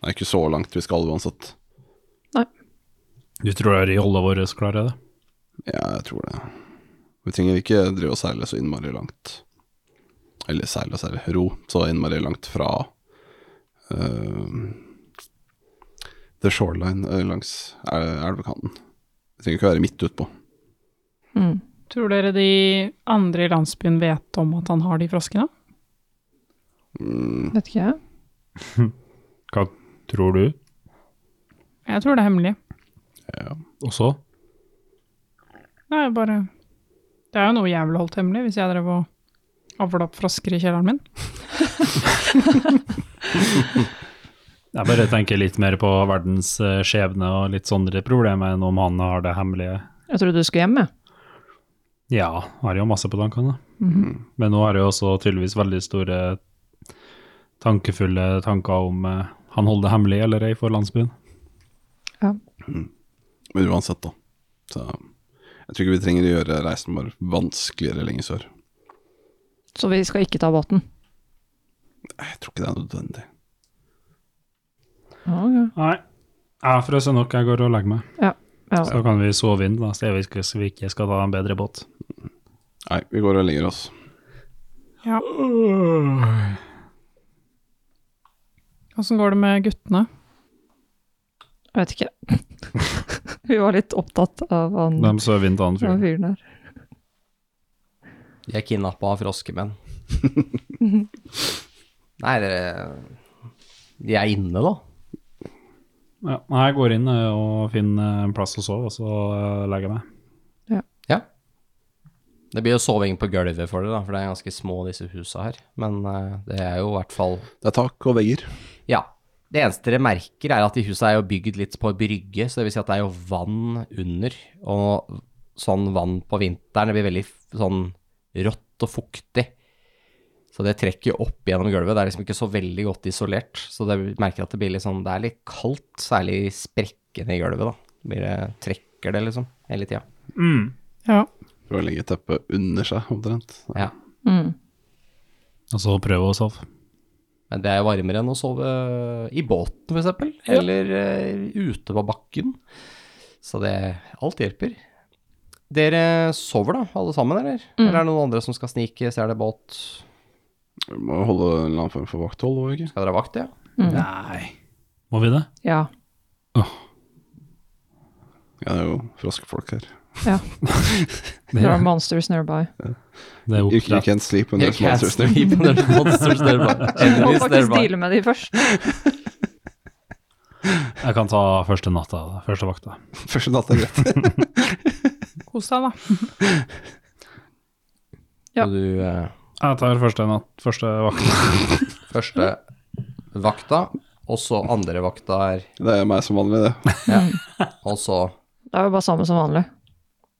[SPEAKER 1] Det er ikke så langt vi skal uansett.
[SPEAKER 4] Du tror riollet vårt klarer det?
[SPEAKER 1] Ja, jeg tror det. Vi trenger ikke drive og seile så innmari langt Eller seile og seile, ro så innmari langt fra eh, the shoreline eh, langs el- elvekanten. Vi trenger ikke være midt utpå.
[SPEAKER 6] Mm.
[SPEAKER 5] Tror dere de andre i landsbyen vet om at han har de froskene?
[SPEAKER 1] Mm,
[SPEAKER 6] Vet ikke jeg.
[SPEAKER 4] Hva tror du?
[SPEAKER 5] Jeg tror det er hemmelig.
[SPEAKER 1] ja.
[SPEAKER 4] Og så?
[SPEAKER 5] Nei, jeg bare Det er jo noe jeg ville holdt hemmelig, hvis jeg drev og avla opp frosker i kjelleren min.
[SPEAKER 4] Jeg bare tenker litt mer på verdens eh, skjebne og litt sånne problemer enn om han har det hemmelige.
[SPEAKER 6] Jeg trodde du skulle hjem, jeg.
[SPEAKER 4] Ja, har jo masse på tankene.
[SPEAKER 6] Mhm.
[SPEAKER 4] Men nå har jeg også tydeligvis veldig store tankefulle tanker om eh, han holder det hemmelig eller ei for landsbyen.
[SPEAKER 1] Men uansett, da. Så jeg tror ikke vi trenger å gjøre reisen vår vanskeligere lenger sør.
[SPEAKER 6] Så vi skal ikke ta båten.
[SPEAKER 1] Jeg tror ikke det er nødvendig.
[SPEAKER 6] Ja, ok.
[SPEAKER 4] Nei, jeg har frøst nok, jeg går og legger meg.
[SPEAKER 6] Ja.
[SPEAKER 4] Så kan vi sove inn, da, så vi ikke skal ta en bedre båt.
[SPEAKER 1] Nei, vi går og legger oss.
[SPEAKER 5] Åssen går det med guttene?
[SPEAKER 6] Jeg vet ikke. *laughs* vi var litt opptatt av han
[SPEAKER 4] De sover inn til han fyren.
[SPEAKER 6] han fyren der.
[SPEAKER 2] De er kidnappa av *laughs* froskemenn. Nei, dere De er inne, da.
[SPEAKER 4] Ja, nei, jeg går inn eh, og finner en plass å sove, og så eh, legger jeg meg.
[SPEAKER 2] Ja. Det blir jo soving på gulvet for dere, da, for det er ganske små, disse husa her. Men eh, det er jo i hvert fall
[SPEAKER 1] Det er tak og vegger.
[SPEAKER 2] Ja. Det eneste dere merker, er at de husa er jo bygd litt på brygge, så det vil si at det er jo vann under. Og sånn vann på vinteren det blir veldig f- sånn rått og fuktig. Så det trekker jo opp gjennom gulvet. Det er liksom ikke så veldig godt isolert. Så det merker at det blir litt sånn Det er litt kaldt, særlig i sprekkene i gulvet, da. Det Blir det, trekker det liksom hele tida.
[SPEAKER 4] Mm.
[SPEAKER 5] Ja.
[SPEAKER 1] Prøver å legge teppet under seg, omtrent.
[SPEAKER 2] Ja.
[SPEAKER 6] Mm.
[SPEAKER 4] Og så prøver jeg å sove.
[SPEAKER 2] Men det er jo varmere enn å sove i båten, f.eks., eller eh, ute på bakken. Så det Alt hjelper. Dere sover da, alle sammen, eller?
[SPEAKER 6] Mm.
[SPEAKER 2] Eller er det noen andre som skal snike, stjele båt?
[SPEAKER 1] Vi må holde en eller annen form for vakthold òg, ikke
[SPEAKER 2] Skal dere ha vakt, ja?
[SPEAKER 4] Nei. Må vi det?
[SPEAKER 6] Ja.
[SPEAKER 1] Ja, det er jo raske folk her.
[SPEAKER 4] Det,
[SPEAKER 6] There are monsters nearby.
[SPEAKER 4] det er
[SPEAKER 1] You, you
[SPEAKER 4] oppdrett.
[SPEAKER 1] can't sleep when
[SPEAKER 2] You
[SPEAKER 1] there's
[SPEAKER 2] can't
[SPEAKER 1] monsters
[SPEAKER 2] *laughs*
[SPEAKER 1] there.
[SPEAKER 2] sleep when there's monsters nearby.
[SPEAKER 6] *laughs* Vi må
[SPEAKER 2] Enemies
[SPEAKER 6] faktisk
[SPEAKER 2] nearby.
[SPEAKER 6] deale med de først.
[SPEAKER 4] Jeg kan ta første natta, da. første vakta.
[SPEAKER 1] *laughs* Første natt er greit.
[SPEAKER 5] Kos deg, da.
[SPEAKER 6] Ja.
[SPEAKER 2] Så Du, eh,
[SPEAKER 4] Jeg tar første natt, første vakta.
[SPEAKER 2] første vakta, og så andre vakta er
[SPEAKER 1] Det er meg som vanlig, det.
[SPEAKER 2] Og så
[SPEAKER 6] Det er jo bare samme som vanlig.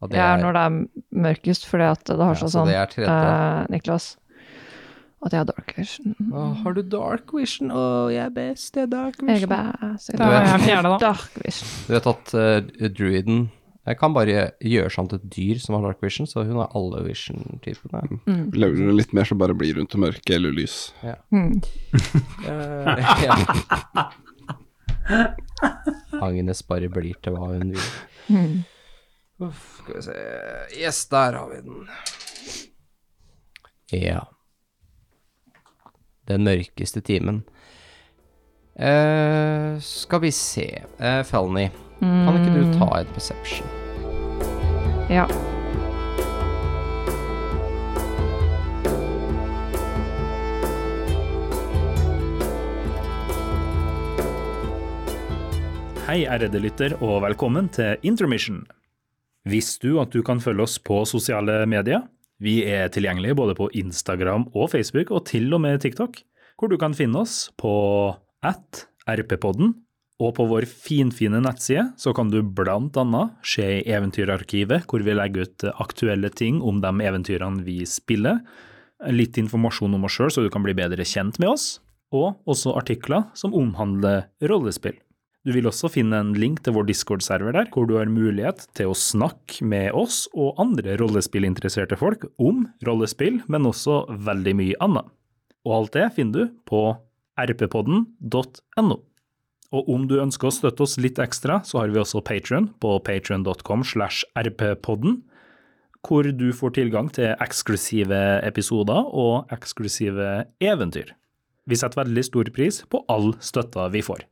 [SPEAKER 2] og det
[SPEAKER 6] Jeg er
[SPEAKER 2] er-
[SPEAKER 6] når det er mørkest, fordi at det har
[SPEAKER 2] ja,
[SPEAKER 6] seg
[SPEAKER 2] så
[SPEAKER 6] sånn,
[SPEAKER 2] det er tredje.
[SPEAKER 6] eh, Niklas, at jeg har dark vision.
[SPEAKER 2] Å, har du dark vision? Å, jeg er best, jeg er dark
[SPEAKER 6] Jeg er
[SPEAKER 2] vision.
[SPEAKER 6] best.
[SPEAKER 5] Da er jeg fjerde,
[SPEAKER 6] *laughs*
[SPEAKER 5] da.
[SPEAKER 6] Dark vision.
[SPEAKER 2] Du vet at eh, druiden eh, kan bare gjøre seg om til et dyr som har dark vision, så hun har alle vision-typene.
[SPEAKER 1] Lever du litt mer, så bare blir rundt det mørke eller lys.
[SPEAKER 2] Eh, *laughs* ja. Agnes bare blir til hva hun vil. Uff, skal vi se Yes, der har vi den. Ja. Den mørkeste timen. Eh, skal vi se uh, Felny, kan ikke du ta et perception?
[SPEAKER 6] Ja.
[SPEAKER 9] Hei, ærede lytter, og velkommen til Intermission. Visste du at du kan følge oss på sosiale medier? Vi er tilgjengelige både på Instagram og Facebook, og til og med TikTok, hvor du kan finne oss på at rppodden, og på vår finfine nettside så kan du blant annet se i Eventyrarkivet, hvor vi legger ut aktuelle ting om de eventyrene vi spiller, litt informasjon om oss sjøl så du kan bli bedre kjent med oss, og også artikler som omhandler rollespill. Du vil også finne en link til vår Discord-server der, hvor du har mulighet til å snakke med oss og andre rollespillinteresserte folk om rollespill, men også veldig mye annet. Og alt det finner du på rppodden.no. Og om du ønsker å støtte oss litt ekstra, så har vi også Patron på patron.com slash rppodden, hvor du får tilgang til eksklusive episoder og eksklusive eventyr. Vi setter veldig stor pris på all støtta vi får.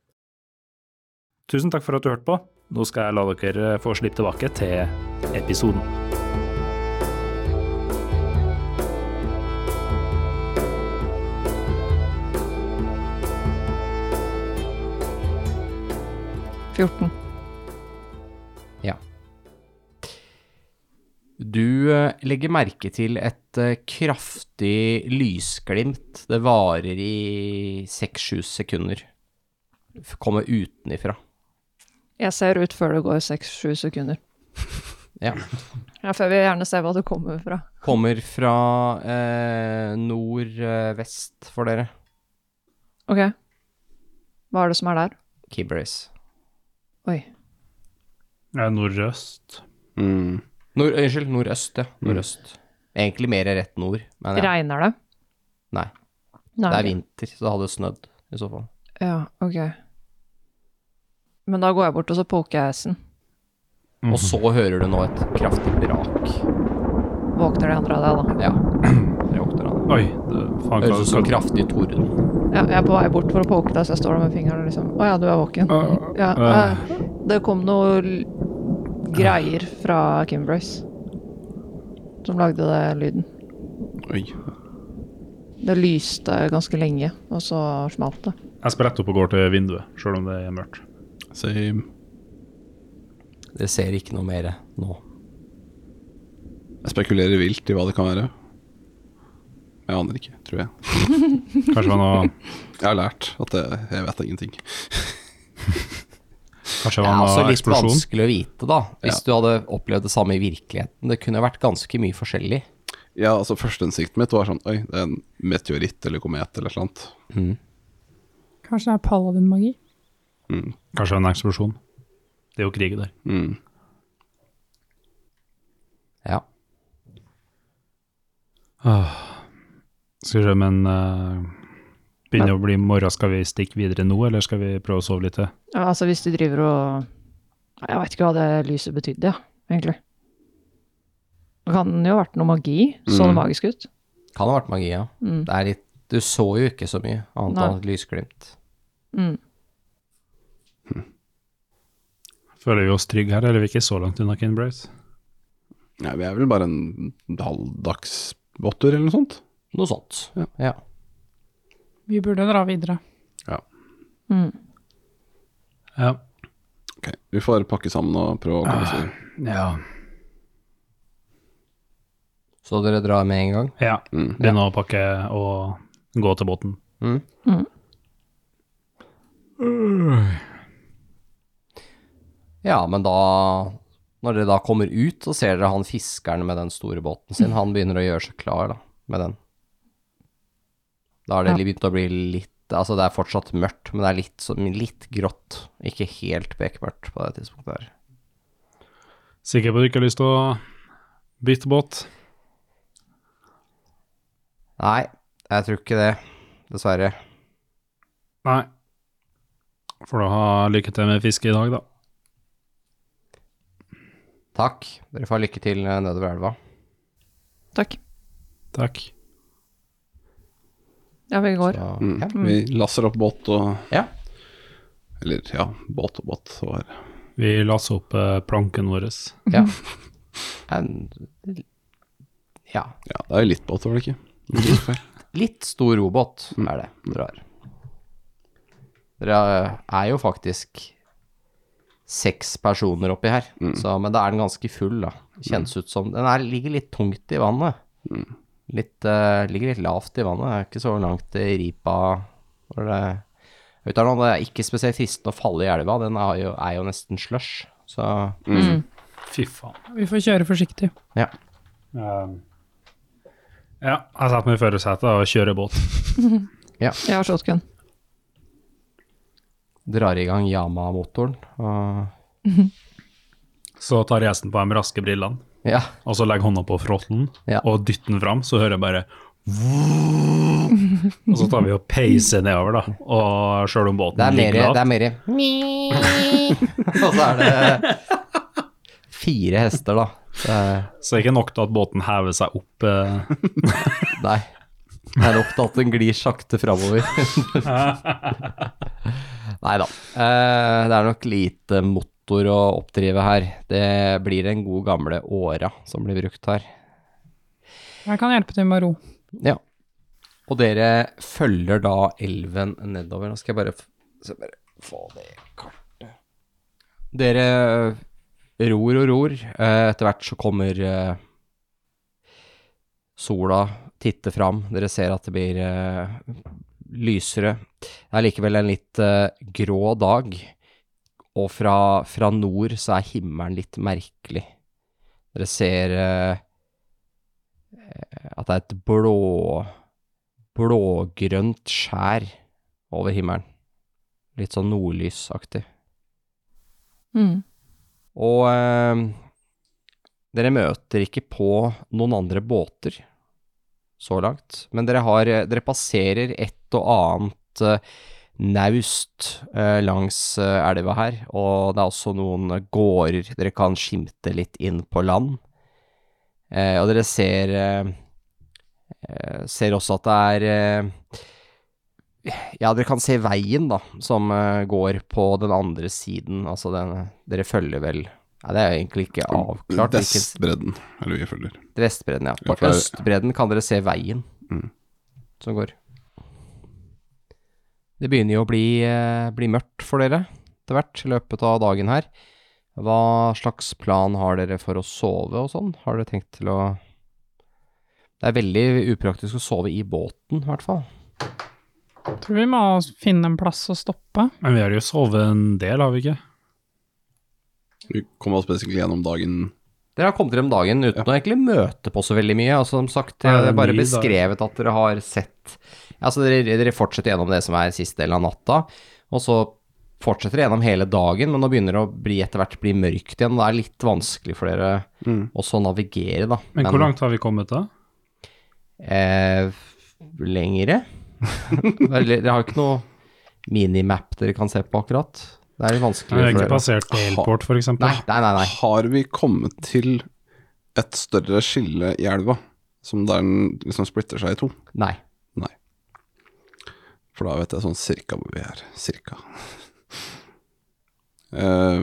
[SPEAKER 9] Tusen takk for at du hørte på. Nå skal jeg la dere få slippe tilbake til episoden.
[SPEAKER 2] Du eh, legger merke til et eh, kraftig lysglimt. Det varer i seks-sju sekunder. F- Kommer utenifra.
[SPEAKER 6] Jeg ser ut før det går 6-7 sekunder.
[SPEAKER 2] Ja.
[SPEAKER 6] Ja, for jeg vil gjerne se hva det kommer fra.
[SPEAKER 2] Kommer fra eh, nordvest for dere.
[SPEAKER 6] Ok. Hva er det som er der?
[SPEAKER 2] Kibberis.
[SPEAKER 6] Oi.
[SPEAKER 4] Jeg er nordøst.
[SPEAKER 1] Mm.
[SPEAKER 2] Nord, eh, unnskyld, nordøst, ja. Nordøst. Egentlig mer rett nord, men ja.
[SPEAKER 6] Regner det?
[SPEAKER 2] Nei.
[SPEAKER 6] Nei.
[SPEAKER 2] det er vinter, så det hadde snødd i så fall.
[SPEAKER 6] Ja, ok. Men da går jeg bort, og så poker jeg hesten.
[SPEAKER 2] Og så hører du nå et kraftig brak.
[SPEAKER 6] Våkner de andre av deg, da?
[SPEAKER 2] Ja. Det våkner han.
[SPEAKER 4] Oi, det, faen,
[SPEAKER 2] Høres ut som
[SPEAKER 4] hva-
[SPEAKER 2] kraftig torden.
[SPEAKER 6] Ja, jeg er på vei bort for å poke deg, så jeg står der med fingeren og liksom Å ja, du er våken.
[SPEAKER 4] Øh,
[SPEAKER 6] Ja,
[SPEAKER 4] øh.
[SPEAKER 6] eh, det kom noe l- greier fra Kimbrace som lagde den lyden.
[SPEAKER 1] Oi.
[SPEAKER 6] Det lyste ganske lenge, og så smalt det.
[SPEAKER 4] Jeg spretter opp og går til vinduet, sjøl om det er mørkt.
[SPEAKER 1] Same.
[SPEAKER 2] Det ser ikke noe mer nå.
[SPEAKER 1] Jeg spekulerer vilt i hva det kan være. Jeg aner ikke, tror jeg.
[SPEAKER 4] Kanskje det var
[SPEAKER 2] *laughs*
[SPEAKER 4] noe,
[SPEAKER 1] Jeg har lært at jeg, jeg vet ingenting.
[SPEAKER 4] kanskje det
[SPEAKER 2] Det
[SPEAKER 4] var
[SPEAKER 2] er
[SPEAKER 4] noe
[SPEAKER 2] altså litt
[SPEAKER 4] eksplosjon?
[SPEAKER 2] vanskelig å vite, da. Hvis du hadde opplevd det samme i virkeligheten. Det kunne vært ganske mye forskjellig.
[SPEAKER 1] Ja, altså Førsteinstinktet mitt var sånn Oi, det er en meteoritt eller komet eller noe sånt.
[SPEAKER 2] Mm.
[SPEAKER 5] Kanskje det er paladin-magi?
[SPEAKER 4] Kanskje det var en eksplosjon? Det er jo krig der.
[SPEAKER 1] Mm.
[SPEAKER 2] Ja.
[SPEAKER 4] Åh. Skal vi se, men eh, Begynner å bli morgen, skal vi stikke videre nå, eller skal vi prøve å sove litt til?
[SPEAKER 6] Ja, Altså, hvis du driver og Jeg veit ikke hva det lyset betydde, ja, egentlig. Det kan jo ha vært noe magi. Så det
[SPEAKER 1] Mm.
[SPEAKER 6] magisk ut?
[SPEAKER 2] Kan ha vært magi, ja.
[SPEAKER 6] Mm.
[SPEAKER 2] Det er litt Du så jo ikke så mye annet
[SPEAKER 6] Nei.
[SPEAKER 2] enn et lysglimt.
[SPEAKER 6] Mm.
[SPEAKER 4] Føler vi oss trygge her, eller er vi ikke så langt unna Kinbrace?
[SPEAKER 1] Nei, vi er vel bare en halvdags båttur eller noe sånt.
[SPEAKER 2] Noe sånt.
[SPEAKER 1] Ja.
[SPEAKER 2] Ja.
[SPEAKER 5] Vi burde dra videre.
[SPEAKER 6] Mm.
[SPEAKER 4] Ja.
[SPEAKER 1] Ok, Vi får pakke sammen og prøve å komme oss videre.
[SPEAKER 4] Ja.
[SPEAKER 2] Så dere drar med en gang?
[SPEAKER 4] ja.
[SPEAKER 1] Mm.
[SPEAKER 4] Begynne å pakke og gå til båten.
[SPEAKER 2] Mm.
[SPEAKER 6] Mm.
[SPEAKER 2] Ja, men da Når dere da kommer ut, så ser dere han fiskeren med den store båten sin. Han begynner å gjøre seg klar da, med den. Da har det
[SPEAKER 6] Ja.
[SPEAKER 2] begynt å bli litt Altså, det er fortsatt mørkt, men det er litt, sånn- litt grått. Ikke helt bekmørkt på det tidspunktet her.
[SPEAKER 4] Sikker på at du ikke har lyst til å bytte båt?
[SPEAKER 2] Nei, jeg tror ikke det. Dessverre.
[SPEAKER 4] Nei. Får da ha lykke til med fisket i dag, da.
[SPEAKER 2] Takk. Dere får ha lykke til eh, nedover elva.
[SPEAKER 6] Takk.
[SPEAKER 4] Takk.
[SPEAKER 6] Ja, vi går.
[SPEAKER 2] Så,
[SPEAKER 1] Mm.
[SPEAKER 2] ja.
[SPEAKER 1] Vi lasser opp båt og
[SPEAKER 2] Ja.
[SPEAKER 1] Eller ja, båt og båt. Og her.
[SPEAKER 4] Vi lasser opp eh, planken vår.
[SPEAKER 2] Ja. En, ja.
[SPEAKER 1] Ja, det er jo litt båt, var det ikke? Litt feil.
[SPEAKER 2] Litt stor robåt er det dere har. Dere eh, er jo faktisk seks personer oppi her, så, men da er den ganske full, da. Kjennes ut som Den er, ligger litt tungt i vannet. Litt, eh, ligger litt lavt i vannet. Er ikke så langt i ripa. hvor Det, jeg vet ikke, det er ikke spesielt fristende å falle i elva. Den er jo, er jo nesten slush, så
[SPEAKER 4] Fy faen. Ehm,
[SPEAKER 5] Vi får kjøre forsiktig.
[SPEAKER 2] ja.
[SPEAKER 4] ja, jeg setter meg i førersetet og kjører båt.
[SPEAKER 6] Jeg har shotgun.
[SPEAKER 2] Drar i gang Yama-motoren. Og
[SPEAKER 4] Så tar gjesten på de raske brillene,
[SPEAKER 2] ja.
[SPEAKER 4] og så legger hånda på frottelen
[SPEAKER 2] Ja.
[SPEAKER 4] og dytter den fram, så hører jeg bare *laughs* Og så tar vi og peiser nedover, da. Og sjøl om båten
[SPEAKER 2] Det er mer,
[SPEAKER 4] ligger
[SPEAKER 2] det er
[SPEAKER 4] lavt
[SPEAKER 2] mer *laughs* Og så er det fire hester, da. eh, Det er-
[SPEAKER 4] Så det er ikke nok til at båten hever seg opp. eh.
[SPEAKER 2] Nei. Det er nok til at den glir sakte
[SPEAKER 4] *laughs*
[SPEAKER 2] framover. Nei da. Eh, Det er nok lite motor å oppdrive her. Det blir den gode gamle åra som blir brukt her.
[SPEAKER 5] Jeg kan hjelpe til med å ro.
[SPEAKER 2] Ja. Og dere følger da elven nedover. Nå skal jeg bare, f- så jeg bare få det kartet Dere ror og ror. Eh, Etter hvert så kommer eh, sola titter fram. Dere ser at det blir eh, lysere. Det er likevel en litt eh, grå dag. Og fra, fra nord så er himmelen litt merkelig. Dere ser eh, at det er et blå blågrønt skjær over himmelen. Litt sånn nordlysaktig.
[SPEAKER 6] Mm.
[SPEAKER 2] Og eh, dere møter ikke på noen andre båter så langt, men dere, har, eh, dere passerer et og annet eh, naust eh, langs eh, elva her, og det er også noen gårder dere kan skimte litt inn på land. Eh, og dere ser eh, eh, ser også at det er eh, ja, dere kan se veien da, som eh, går på den andre siden, altså den, dere følger vel, ja, det er egentlig ikke avklart. hvilken-
[SPEAKER 1] Vestbredden er det vi følger.
[SPEAKER 2] Vestbredden, ja.
[SPEAKER 1] Ja,
[SPEAKER 2] På
[SPEAKER 1] for det er-
[SPEAKER 2] østbredden kan dere se veien
[SPEAKER 1] Mm.
[SPEAKER 2] som går. Det begynner jo å bli, eh, bli mørkt for dere etter hvert i løpet av dagen her. Hva slags plan har dere for å sove og sånn? Har dere tenkt til å Det er veldig upraktisk å sove i båten, i hvert fall.
[SPEAKER 5] Tror vi må finne en plass å stoppe.
[SPEAKER 4] Men vi har jo sovet en del, har vi ikke?
[SPEAKER 1] Vi kom oss basically gjennom dagen
[SPEAKER 2] Dere har kommet frem dagen uten å egentlig møte på så veldig mye. Altså, som sagt,
[SPEAKER 4] Nei, det er
[SPEAKER 2] det er bare
[SPEAKER 4] mye dager.
[SPEAKER 2] beskrevet at dere har sett Altså, dere, dere fortsetter gjennom det som er siste del av natta, og så fortsetter dere gjennom hele dagen, men nå begynner det å bli etter hvert bli mørkt igjen. og Det er litt vanskelig for dere
[SPEAKER 4] Mm.
[SPEAKER 2] også å navigere, da.
[SPEAKER 4] Men hvor langt har vi kommet da?
[SPEAKER 2] Eh, lengre? *laughs* Dere har jo ikke noe minimap dere kan se på akkurat. Det er litt vanskelig.
[SPEAKER 4] Jeg
[SPEAKER 2] for
[SPEAKER 4] har ikke
[SPEAKER 2] dere.
[SPEAKER 4] passert Ailport, for eksempel.
[SPEAKER 2] Nei, nei, nei. nei.
[SPEAKER 1] Har vi kommet til et større skille i elva, som der den liksom splitter seg i to?
[SPEAKER 2] nei.
[SPEAKER 1] Nei. For da vet jeg sånn cirka hvor vi er. Cirka. *laughs* Eh,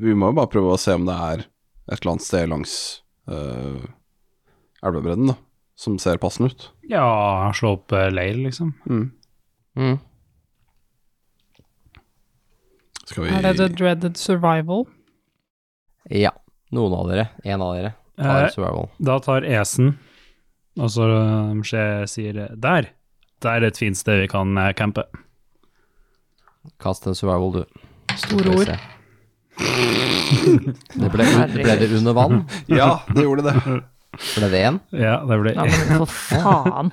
[SPEAKER 1] vi må jo bare prøve å se om det er et eller annet sted langs eh, elvebredden da, som ser passende ut.
[SPEAKER 4] Ja, slå opp eh, leir, liksom.
[SPEAKER 2] Mm.
[SPEAKER 1] Skal vi
[SPEAKER 5] Er det the dreaded survival?
[SPEAKER 2] Ja. Noen av dere. En av dere.
[SPEAKER 4] Eh,
[SPEAKER 2] Tar survival.
[SPEAKER 4] Da tar Esen, og så um, skje- sier det, der. Det er et fint sted vi kan eh, campe.
[SPEAKER 2] Kast en survival, du.
[SPEAKER 5] Store
[SPEAKER 2] Skal vi
[SPEAKER 5] ord.
[SPEAKER 2] se. *laughs* Det ble, ble det under vann?
[SPEAKER 1] Ja, *laughs* det gjorde det.
[SPEAKER 2] Ble det én?
[SPEAKER 4] Ja, det blir
[SPEAKER 6] Nei, men for faen.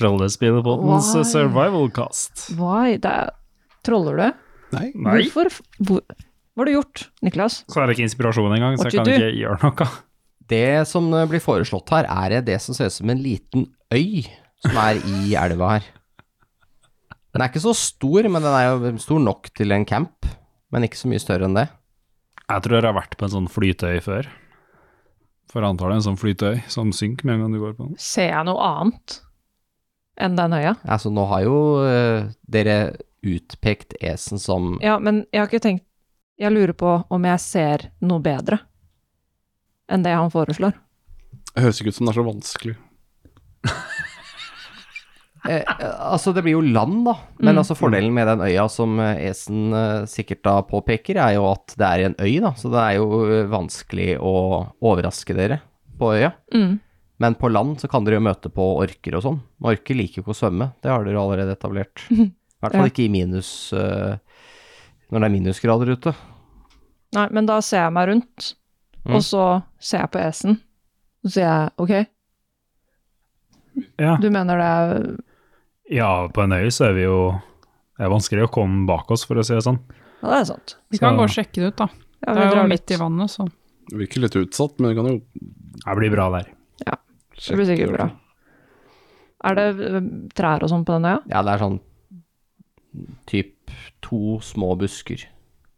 [SPEAKER 4] rollespillbåtens
[SPEAKER 6] Why?
[SPEAKER 4] eh, survival cast.
[SPEAKER 6] Why? Det er... Troller du?
[SPEAKER 1] Nei.
[SPEAKER 6] Hvorfor? f- Hvor... Hva har du gjort, Niklas?
[SPEAKER 4] Så er det ikke inspirasjon engang, så
[SPEAKER 6] What
[SPEAKER 4] jeg kan
[SPEAKER 6] you do?
[SPEAKER 4] ikke gjøre noe. *laughs*
[SPEAKER 2] Det som eh, blir foreslått her, er det som ser ut som en liten øy som er i elva her. Den er ikke så stor, men den er jo stor nok til en camp. Men ikke så mye større enn det.
[SPEAKER 4] Jeg tror jeg har vært på en sånn flytøy før.
[SPEAKER 8] For jeg antar det er en sånn flytøy som synker med en gang du går på den.
[SPEAKER 6] Ser jeg noe annet enn den øya?
[SPEAKER 2] Altså, nå har jo eh, dere utpekt Esen som
[SPEAKER 6] Ja, men jeg har ikke tenkt Jeg lurer på om jeg ser noe bedre enn det han foreslår.
[SPEAKER 1] Det høres ikke ut som det er så vanskelig.
[SPEAKER 2] Eh, eh, altså, det blir jo land, da. Men
[SPEAKER 6] Mm.
[SPEAKER 2] altså, fordelen med den øya som eh, Esen eh, sikkert da påpeker, er jo at det er en øy, da. Så det er jo eh, vanskelig å overraske dere på øya.
[SPEAKER 6] Mm.
[SPEAKER 2] Men på land så kan dere jo møte på orker og sånn. Orker liker jo ikke å svømme, det har dere jo allerede
[SPEAKER 6] *laughs*
[SPEAKER 2] etablert. I hvert
[SPEAKER 6] Ja.
[SPEAKER 2] fall ikke i minus eh, når det er minusgrader ute.
[SPEAKER 6] Nei, men da ser jeg meg rundt,
[SPEAKER 2] Mm.
[SPEAKER 6] og så ser jeg på esen. Så sier jeg ok,
[SPEAKER 4] Ja.
[SPEAKER 6] du mener det er
[SPEAKER 4] ja, på en øy så er vi jo Det er vanskelig å komme bak oss, for å si det sånn.
[SPEAKER 6] Ja, det er sant.
[SPEAKER 5] Vi kan
[SPEAKER 4] Så-
[SPEAKER 5] gå og sjekke det ut, da.
[SPEAKER 6] Ja,
[SPEAKER 5] Det er jo
[SPEAKER 6] drar
[SPEAKER 5] midt
[SPEAKER 6] litt.
[SPEAKER 5] i vannet, så
[SPEAKER 1] Det virker litt utsatt, men det kan jo
[SPEAKER 4] Det blir bra der.
[SPEAKER 6] Det blir sikkert bra. Er det ø, trær og sånn på den øya?
[SPEAKER 2] Ja, det er sånn typ to små busker.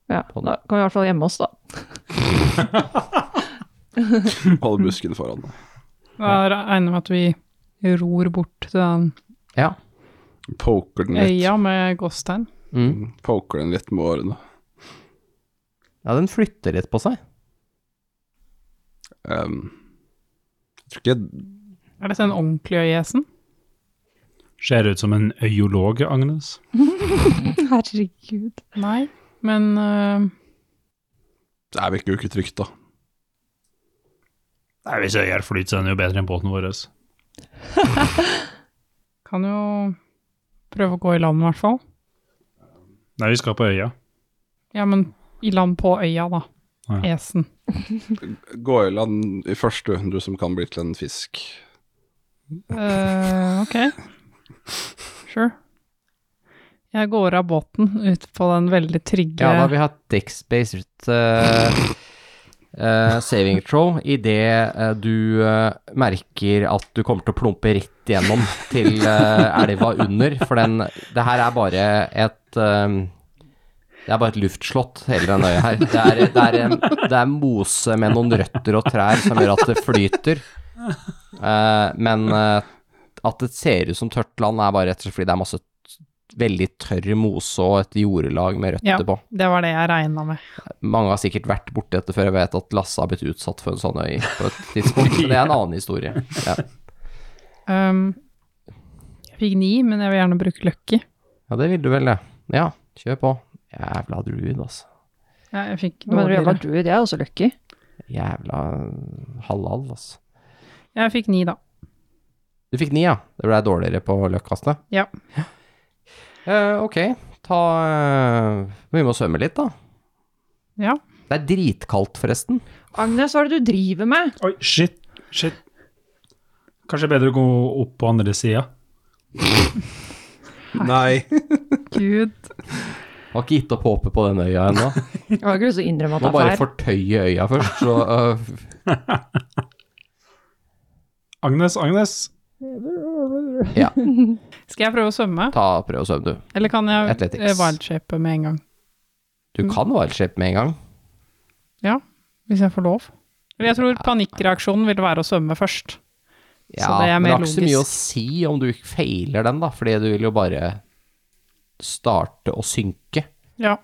[SPEAKER 6] Ja, da kan vi i hvert fall gjemme oss, da.
[SPEAKER 1] Holde busken foran deg.
[SPEAKER 5] da regner jeg med at vi ror bort til den
[SPEAKER 2] Ja.
[SPEAKER 1] Poker den litt,
[SPEAKER 5] øya med gåstegn.
[SPEAKER 2] Mm.
[SPEAKER 1] Poker den litt med årene.
[SPEAKER 2] Ja, den flytter litt på seg.
[SPEAKER 1] Ehm, jeg tror ikke
[SPEAKER 5] Er dette en ordentlig øyesen?
[SPEAKER 4] Ser ut som en øyolog, Agnes.
[SPEAKER 6] Herregud.
[SPEAKER 5] Nei, men øh,
[SPEAKER 1] Det er virker jo ikke trygt, da.
[SPEAKER 4] Nei, Hvis øyer flyter, så er den jo bedre enn båten vår.
[SPEAKER 5] kan jo prøve å gå i land, i hvert fall.
[SPEAKER 4] Nei, vi skal på øya.
[SPEAKER 5] Ja, men i land på øya, da.
[SPEAKER 4] Ah, ja.
[SPEAKER 5] Esen.
[SPEAKER 1] Gå i land i første du som kan bli til en fisk.
[SPEAKER 5] Eh, ok. Sure. Jeg går av båten ut på den veldig trygge
[SPEAKER 2] Ja, da vil vi ha dex-based eh, eh, saving throw idet uh, du eh, merker at du kommer til å plumpe rett igjennom til eh, elva under. For den Det her er bare et eh, det er bare et luftslott, hele den øya her. Det er, det, er, en- det er mose med noen røtter og trær som gjør at det flyter. Eh, men eh, at det ser ut som tørt land, er bare rett og slett fordi det er masse t- veldig tørr mose og et jordelag med røtter
[SPEAKER 5] Ja.
[SPEAKER 2] på.
[SPEAKER 5] Det var det jeg regna med.
[SPEAKER 2] Mange har sikkert vært borti dette før, jeg vet at Lasse har blitt utsatt for en sånn øy på et tidspunkt, men det er en annen historie. Ja,
[SPEAKER 5] Um, jeg fikk ni, men jeg vil gjerne bruke lucky.
[SPEAKER 2] ja det vil du vel, det. Ja, kjør på. Jævla druid, altså.
[SPEAKER 5] Ja, jeg fikk
[SPEAKER 6] Men jeg var
[SPEAKER 5] dårligere.
[SPEAKER 6] druid, jeg er også lucky.
[SPEAKER 2] Jævla halal, altså.
[SPEAKER 5] Jeg fikk ni, da.
[SPEAKER 2] Du fikk ni, ja. Det ble dårligere på løkkastet.
[SPEAKER 5] Ja.
[SPEAKER 2] Eh, ok, ta eh, Vi må svømme litt, da.
[SPEAKER 5] Ja.
[SPEAKER 2] Det er dritkaldt, forresten.
[SPEAKER 6] Agnes, hva er det du driver med?
[SPEAKER 4] Oi, shit, shit. Kanskje bedre å gå opp på andre sida.
[SPEAKER 1] Nei. *laughs*
[SPEAKER 5] Gud.
[SPEAKER 2] Har ikke gitt opp håpet på den øya ennå.
[SPEAKER 6] Jeg har ikke lyst til å
[SPEAKER 2] Må
[SPEAKER 6] innrømme at det
[SPEAKER 2] bare
[SPEAKER 6] er feil.
[SPEAKER 2] fortøye øya først, så eh,
[SPEAKER 4] Agnes, Agnes,
[SPEAKER 2] Ja.
[SPEAKER 5] Skal jeg prøve å svømme?
[SPEAKER 2] Ta prøv å svømme, du.
[SPEAKER 5] Eller kan jeg
[SPEAKER 2] Athletics.
[SPEAKER 5] eh, wildshape med en gang?
[SPEAKER 2] Du kan wildshape med en gang.
[SPEAKER 5] Ja, hvis jeg får lov. Eller jeg tror panikkreaksjonen ville være å svømme først.
[SPEAKER 2] Ja,
[SPEAKER 5] Så det er
[SPEAKER 2] men det
[SPEAKER 5] mer
[SPEAKER 2] har ikke så mye å
[SPEAKER 5] logisk.
[SPEAKER 2] si om du feiler den, da, fordi du vil jo bare starte å synke.
[SPEAKER 5] Ja.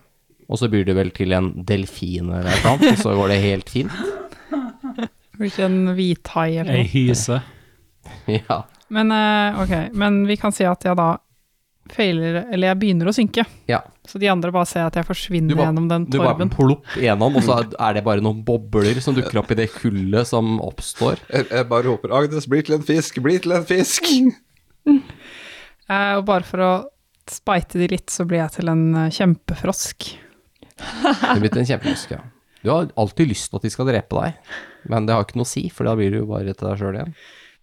[SPEAKER 2] Og så byr du vel til en delfin eller noe sånt, og så går det helt fint. *laughs*
[SPEAKER 5] Blir ikke en hvithai eller
[SPEAKER 4] Ei
[SPEAKER 5] noe.
[SPEAKER 4] hyse.
[SPEAKER 2] Ja.
[SPEAKER 5] Men eh, ok, men vi kan si at jeg da feiler, eller jeg begynner å synke.
[SPEAKER 2] ja.
[SPEAKER 5] Så de andre bare ser at jeg
[SPEAKER 2] Du
[SPEAKER 5] forsvinner
[SPEAKER 2] bare-
[SPEAKER 5] gjennom den
[SPEAKER 2] Du bare
[SPEAKER 5] torben.
[SPEAKER 2] plopp gjennom, og så er det bare noen bobler som dukker opp i det kullet som oppstår.
[SPEAKER 1] Jeg, jeg bare håper Agnes blir til en fisk, blir til en fisk!
[SPEAKER 5] Eh, og bare for å speite de litt, så blir jeg til en eh, kjempefrosk.
[SPEAKER 2] Du er blitt en kjempehuske. Du har alltid lyst til at de skal drepe deg, men det har ikke noe å si, for da blir du jo bare til deg sjøl igjen.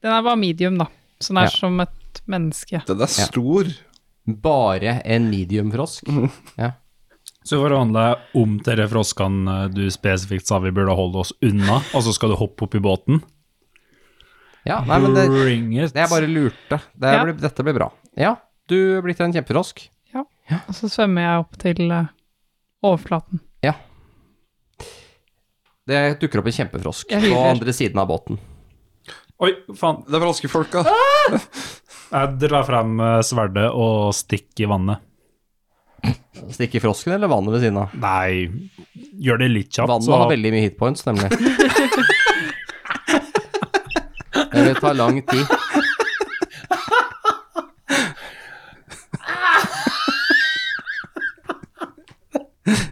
[SPEAKER 5] Den er bare medium, da. Så den
[SPEAKER 2] Ja.
[SPEAKER 5] er som et menneske.
[SPEAKER 1] Den er stor.
[SPEAKER 2] Bare en mediumfrosk. Ja.
[SPEAKER 4] Så vi forhandla om til de froskene eh, du spesifikt sa vi burde holde oss unna, og så skal du hoppe opp i båten?
[SPEAKER 2] ja, nei, men det,
[SPEAKER 4] Bring it.
[SPEAKER 2] det jeg bare lurte. Det
[SPEAKER 5] Ja.
[SPEAKER 2] ble, dette ble bra. Ja, du er blitt en kjempefrosk.
[SPEAKER 5] Og så svømmer jeg opp til eh, overflaten.
[SPEAKER 2] Det dukker opp en kjempefrosk
[SPEAKER 5] Jeg
[SPEAKER 2] på
[SPEAKER 5] hyler.
[SPEAKER 2] andre siden av båten.
[SPEAKER 4] Oi, faen.
[SPEAKER 1] Det er froskefolka.
[SPEAKER 4] Jeg drar frem eh, sverdet og stikker i vannet.
[SPEAKER 2] Stikker frosken eller vannet ved siden av?
[SPEAKER 4] Nei, gjør det litt kjapt,
[SPEAKER 2] Vannet
[SPEAKER 4] så
[SPEAKER 2] har veldig mye hitpoints,
[SPEAKER 4] *laughs*
[SPEAKER 2] nemlig. Det vil ta lang tid.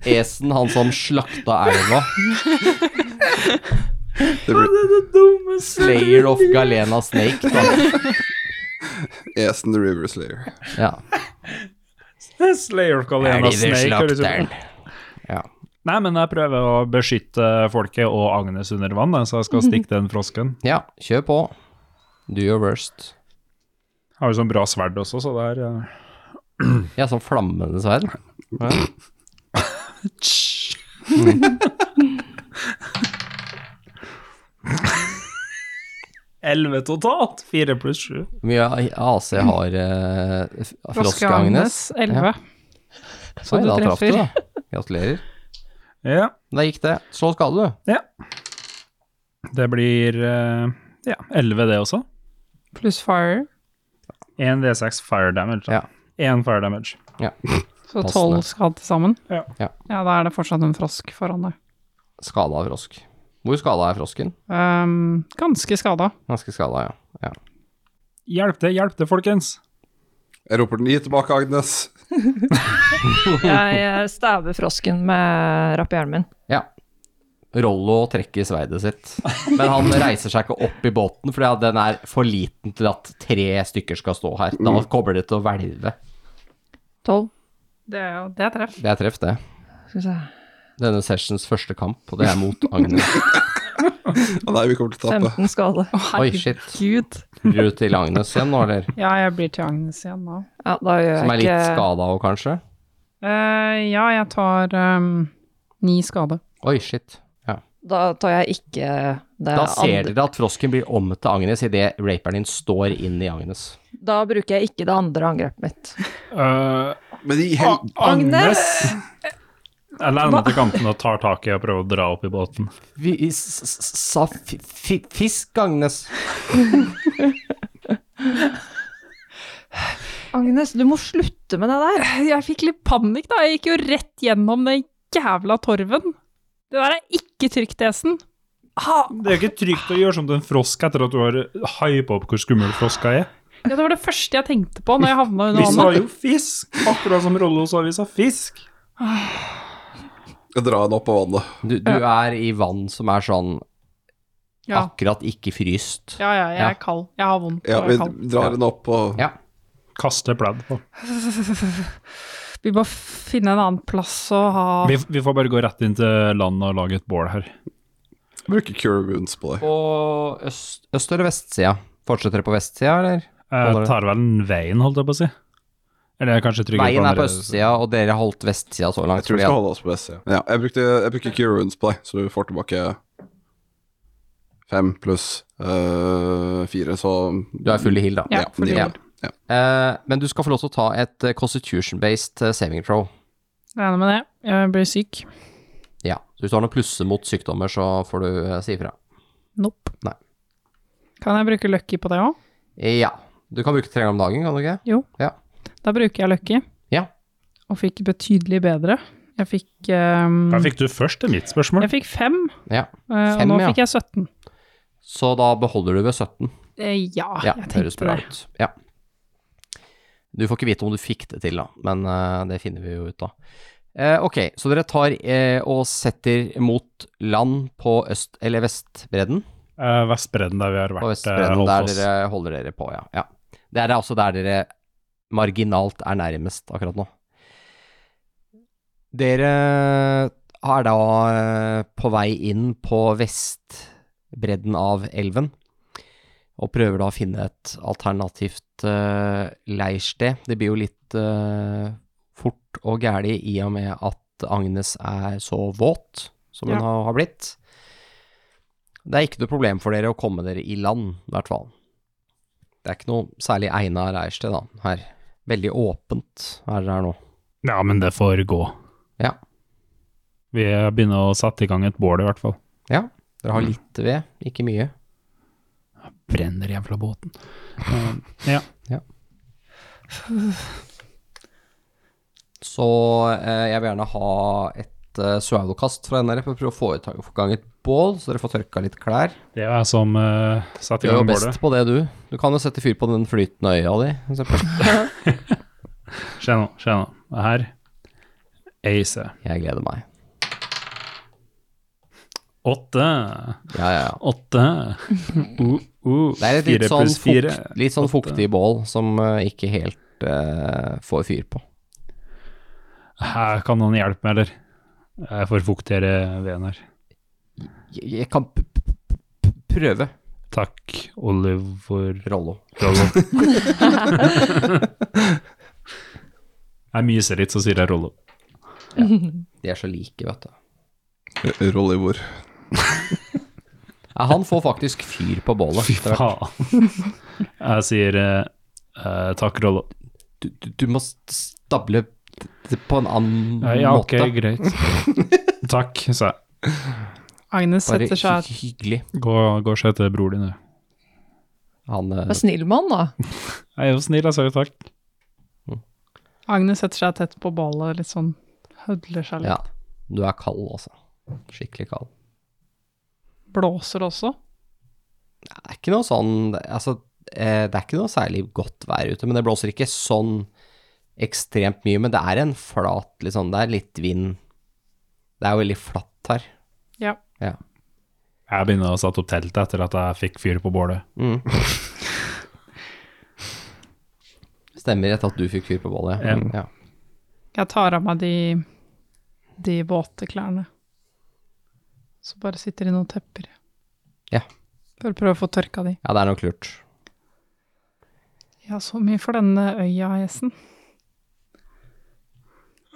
[SPEAKER 2] Esen, han som slakta elva.
[SPEAKER 1] Det blir
[SPEAKER 2] Slayer of Galena Snake. Da.
[SPEAKER 1] Esen the River Slayer.
[SPEAKER 2] Ja.
[SPEAKER 4] Slayer Call Elena Snake, høres ut som-
[SPEAKER 2] Ja.
[SPEAKER 4] Nei, men jeg prøver å beskytte folket og Agnes under vann, da, så jeg skal stikke den frosken.
[SPEAKER 2] ja, kjør på. Do your worst.
[SPEAKER 4] Har jo sånn bra sverd også, så det er eh,
[SPEAKER 2] Ja, sånn flammende sverd. Ja.
[SPEAKER 4] Elleve totalt! Fire pluss sju.
[SPEAKER 2] Hvor mye AC har eh, f- Froske Agnes?
[SPEAKER 5] 11.
[SPEAKER 2] Ja. Så
[SPEAKER 5] du
[SPEAKER 2] da traff du,
[SPEAKER 5] treffer.
[SPEAKER 2] da. Gratulerer.
[SPEAKER 4] Ja,
[SPEAKER 2] Da gikk det. Slå skade, du.
[SPEAKER 4] det blir eh, ja, elleve det også.
[SPEAKER 5] Pluss fire,
[SPEAKER 4] Én V6 fire damage.
[SPEAKER 2] Ja.
[SPEAKER 4] da. Én fire damage.
[SPEAKER 5] så
[SPEAKER 2] Passende.
[SPEAKER 5] 12 skal til sammen.
[SPEAKER 4] Ja.
[SPEAKER 2] Ja.
[SPEAKER 5] ja, da er det fortsatt en frosk foran deg.
[SPEAKER 2] Skada av frosk. Hvor skada er frosken?
[SPEAKER 5] Ehm, ganske skada.
[SPEAKER 2] Ganske skada, ja. ja.
[SPEAKER 4] Hjelp det, hjelp det, folkens!
[SPEAKER 1] Jeg roper den gi tilbake, Agnes.
[SPEAKER 6] Jeg eh, staver frosken med rappjernen min.
[SPEAKER 2] Ja. Rollo trekker sverdet sitt. Men han reiser seg ikke opp i båten, for den er for liten til at tre stykker skal stå her. Da kommer det til å hvelve.
[SPEAKER 6] Tolv.
[SPEAKER 5] Det er jo det er treff.
[SPEAKER 2] Det er treff, det.
[SPEAKER 6] Skal vi se.
[SPEAKER 2] Denne sessions første kamp, og det er mot Agnes.
[SPEAKER 1] Å Ah, nei, vi kommer til å tape.
[SPEAKER 6] 15 skade.
[SPEAKER 2] Oi, shit.
[SPEAKER 5] Gud.
[SPEAKER 2] Tror du til Agnes igjen nå, eller?
[SPEAKER 5] Ja, jeg blir til Agnes igjen nå.
[SPEAKER 6] Ja, da gjør
[SPEAKER 2] Som er
[SPEAKER 6] jeg
[SPEAKER 2] litt
[SPEAKER 6] ikke
[SPEAKER 2] skada òg, kanskje?
[SPEAKER 5] Eh, ja, jeg tar ehm, ni skade.
[SPEAKER 2] Oi, shit. Ja.
[SPEAKER 6] Da tar jeg ikke
[SPEAKER 5] Eh,
[SPEAKER 6] det
[SPEAKER 2] Da ser
[SPEAKER 6] andre
[SPEAKER 2] dere at frosken blir om til Agnes idet raperen din står inn i Agnes.
[SPEAKER 6] Da bruker jeg ikke det andre angrepet mitt.
[SPEAKER 4] Eh,
[SPEAKER 1] Men i hel...
[SPEAKER 4] Agnes! Jeg lener til kanten og tar tak i og prøver å dra opp i båten.
[SPEAKER 2] Vi s- s- sa fi- fi- fisk, Agnes.
[SPEAKER 6] Agnes, du må slutte med det der.
[SPEAKER 5] *laughs* Jeg fikk litt panikk, da. Jeg gikk jo rett gjennom den jævla torven. Det der er ikke trygt, Esen.
[SPEAKER 4] Det er jo ikke trygt å gjøre som til en frosk etter at du har hypa opp hvor skummel froska er.
[SPEAKER 5] Ja, det var det første jeg tenkte på når jeg havna
[SPEAKER 4] Vi
[SPEAKER 5] under
[SPEAKER 4] sa
[SPEAKER 5] vannet.
[SPEAKER 4] jo fisk! Akkurat som Rollo sa vi sa fisk.
[SPEAKER 1] Jeg drar den opp av vannet.
[SPEAKER 2] Du, du er i vann som er sånn
[SPEAKER 5] Ja.
[SPEAKER 2] akkurat ikke fryst.
[SPEAKER 5] ja, ja, jeg
[SPEAKER 2] Ja.
[SPEAKER 5] er kald. Jeg har vondt.
[SPEAKER 1] Ja,
[SPEAKER 5] og
[SPEAKER 1] vi
[SPEAKER 5] jeg er kald.
[SPEAKER 1] drar den opp og
[SPEAKER 2] Ja.
[SPEAKER 4] Kaste pledd på.
[SPEAKER 5] *laughs* Vi må finne en annen plass å ha
[SPEAKER 4] Vi, vi får bare gå rett inn til landet og lage et bål her.
[SPEAKER 1] bruker cure wounds på deg.
[SPEAKER 2] På øst, øst- eller vestsida? Fortsetter det på vestsida, eller?
[SPEAKER 4] Jeg tar vel den veien, holdt jeg på å si. Eller jeg er kanskje tryggere
[SPEAKER 2] Veien er
[SPEAKER 4] andre-
[SPEAKER 2] på østsida, og dere har holdt vestsida så langt.
[SPEAKER 1] Jeg tror vi
[SPEAKER 2] fordi
[SPEAKER 1] skal
[SPEAKER 2] at-
[SPEAKER 1] holde oss på S, ja. ja jeg, brukte, jeg bruker cure wounds på deg, så du får tilbake Fem pluss øh, fire, så
[SPEAKER 2] Du er full i heal, da.
[SPEAKER 5] Ja, full i
[SPEAKER 1] de-
[SPEAKER 5] heal.
[SPEAKER 1] Ja.
[SPEAKER 2] Eh, men du skal få lov til å ta et eh, constitution-based eh, saving throw.
[SPEAKER 5] Regner med det. Jeg blir syk.
[SPEAKER 2] Ja. Så hvis du har noen plusser mot sykdommer, så får du eh, si ifra.
[SPEAKER 5] Nope.
[SPEAKER 2] Nei.
[SPEAKER 5] Kan jeg bruke lucky på det òg?
[SPEAKER 2] Ja. Du kan bruke tre ganger om dagen, kan du ikke?
[SPEAKER 5] Da bruker jeg lucky.
[SPEAKER 2] Ja.
[SPEAKER 5] Og fikk betydelig bedre. Jeg fikk ehm,
[SPEAKER 4] Hva fikk du først, er mitt spørsmål.
[SPEAKER 5] Jeg fikk fem,
[SPEAKER 2] Ja.
[SPEAKER 5] eh, og
[SPEAKER 2] Fem,
[SPEAKER 5] nå
[SPEAKER 2] ja.
[SPEAKER 5] fikk jeg 17.
[SPEAKER 2] Så da beholder du ved 17.
[SPEAKER 5] Eh, ja,
[SPEAKER 2] Ja,
[SPEAKER 5] jeg
[SPEAKER 2] høres
[SPEAKER 5] tenkte
[SPEAKER 2] bra
[SPEAKER 5] det.
[SPEAKER 2] ut. Ja. Du får ikke vite om du fikk det til, da, men eh, det finner vi jo ut av. Eh, ok, så dere tar eh, og setter mot land på øst- eller vestbredden?
[SPEAKER 4] Eh, Vestbredden, der vi har
[SPEAKER 2] På
[SPEAKER 4] vært. eh,
[SPEAKER 2] vestbredden,
[SPEAKER 4] holdt
[SPEAKER 2] der
[SPEAKER 4] oss.
[SPEAKER 2] dere holder dere på, ja. ja. Det er altså der dere marginalt er nærmest akkurat nå. Dere er da eh, på vei inn på vestbredden av elven, og prøver da å finne et alternativt eh, leirsted. Det blir jo litt eh, fort og gæli i og med at Agnes er så våt som hun
[SPEAKER 5] Ja.
[SPEAKER 2] har- har blitt. Det er ikke noe problem for dere å komme dere i land, i hvert fall. Det er ikke noe særlig egna leirsted, da, her. Veldig åpent er det her nå.
[SPEAKER 4] Ja, men det får gå.
[SPEAKER 2] Ja.
[SPEAKER 4] Vi begynner å sette i gang et bål, i hvert fall.
[SPEAKER 2] Ja, dere
[SPEAKER 4] Mm.
[SPEAKER 2] har litt ved, ikke mye.
[SPEAKER 4] Brenner jævla båten. Eh, ja.
[SPEAKER 2] Så eh, jeg vil gjerne ha et eh, sverdokast fra dere for å prøve å få i ta- få i gang et bål, så dere får tørka litt klær.
[SPEAKER 4] Det er jeg som eh,
[SPEAKER 2] Du
[SPEAKER 4] setter i
[SPEAKER 2] er jo
[SPEAKER 4] gang bålet.
[SPEAKER 2] best på det, du. Du kan jo sette fyr på den flytende øya di, for eksempel.
[SPEAKER 4] Se nå, se nå. Det Her. Ace.
[SPEAKER 2] Jeg gleder meg.
[SPEAKER 4] Åtte.
[SPEAKER 2] Ja, ja, ja.
[SPEAKER 4] Åtte. Uh, uh.
[SPEAKER 2] Det er et
[SPEAKER 4] Fire
[SPEAKER 2] litt sånn,
[SPEAKER 4] pluss fire.
[SPEAKER 2] fukt, litt sånn fuktig bål som eh, ikke helt eh, får fyr på.
[SPEAKER 4] Her kan noen hjelpe meg, eller? Jeg får fuktigere veden her.
[SPEAKER 2] Jeg, jeg kan p p p prøve.
[SPEAKER 4] Takk, Oliver.
[SPEAKER 2] Rollo.
[SPEAKER 4] Jeg myser litt, så sier jeg Rollo.
[SPEAKER 2] De er så like, vet du.
[SPEAKER 1] Rollivor.
[SPEAKER 2] Ja, han får faktisk fyr på bålet.
[SPEAKER 4] Fy
[SPEAKER 2] etter hvert.
[SPEAKER 4] faen. Jeg sier eh, eh, takk, Rollo.
[SPEAKER 2] Du, du, du må stable det på en annen
[SPEAKER 4] Eh, ja, ok,
[SPEAKER 2] måte.
[SPEAKER 4] greit. *laughs* takk, sa jeg.
[SPEAKER 5] Agnes
[SPEAKER 2] Bare
[SPEAKER 5] setter seg
[SPEAKER 2] hy hyggelig.
[SPEAKER 4] Gå, gå og se etter bror din, du.
[SPEAKER 2] Han, eh,
[SPEAKER 6] Vær snill med han, da.
[SPEAKER 4] Jeg er jo snill, jeg sa jo takk.
[SPEAKER 5] Agnes setter seg tett på bålet og litt sånn hødler seg litt.
[SPEAKER 2] ja, du er kald, altså. Skikkelig kald.
[SPEAKER 5] Blåser også.
[SPEAKER 2] Det er ikke noe sånn Altså, eh, det er ikke noe særlig godt vær ute, men det blåser ikke sånn ekstremt mye. Men det er en flat litt sånn Det er litt vind. Det er jo veldig flatt her.
[SPEAKER 5] Ja.
[SPEAKER 2] Ja.
[SPEAKER 4] Jeg begynner å sette opp teltet etter at jeg fikk fyr på bålet.
[SPEAKER 2] Mm. *laughs* Stemmer etter at du fikk fyr på bålet. Ja.
[SPEAKER 4] Ja.
[SPEAKER 2] Mm, ja.
[SPEAKER 5] Jeg tar av meg de, de våte klærne. Så bare sitter i noen tepper.
[SPEAKER 2] Ja.
[SPEAKER 5] For å prøve å få tørka de.
[SPEAKER 2] ja, det er nok lurt.
[SPEAKER 5] Ja, så mye for denne øya, Jessen.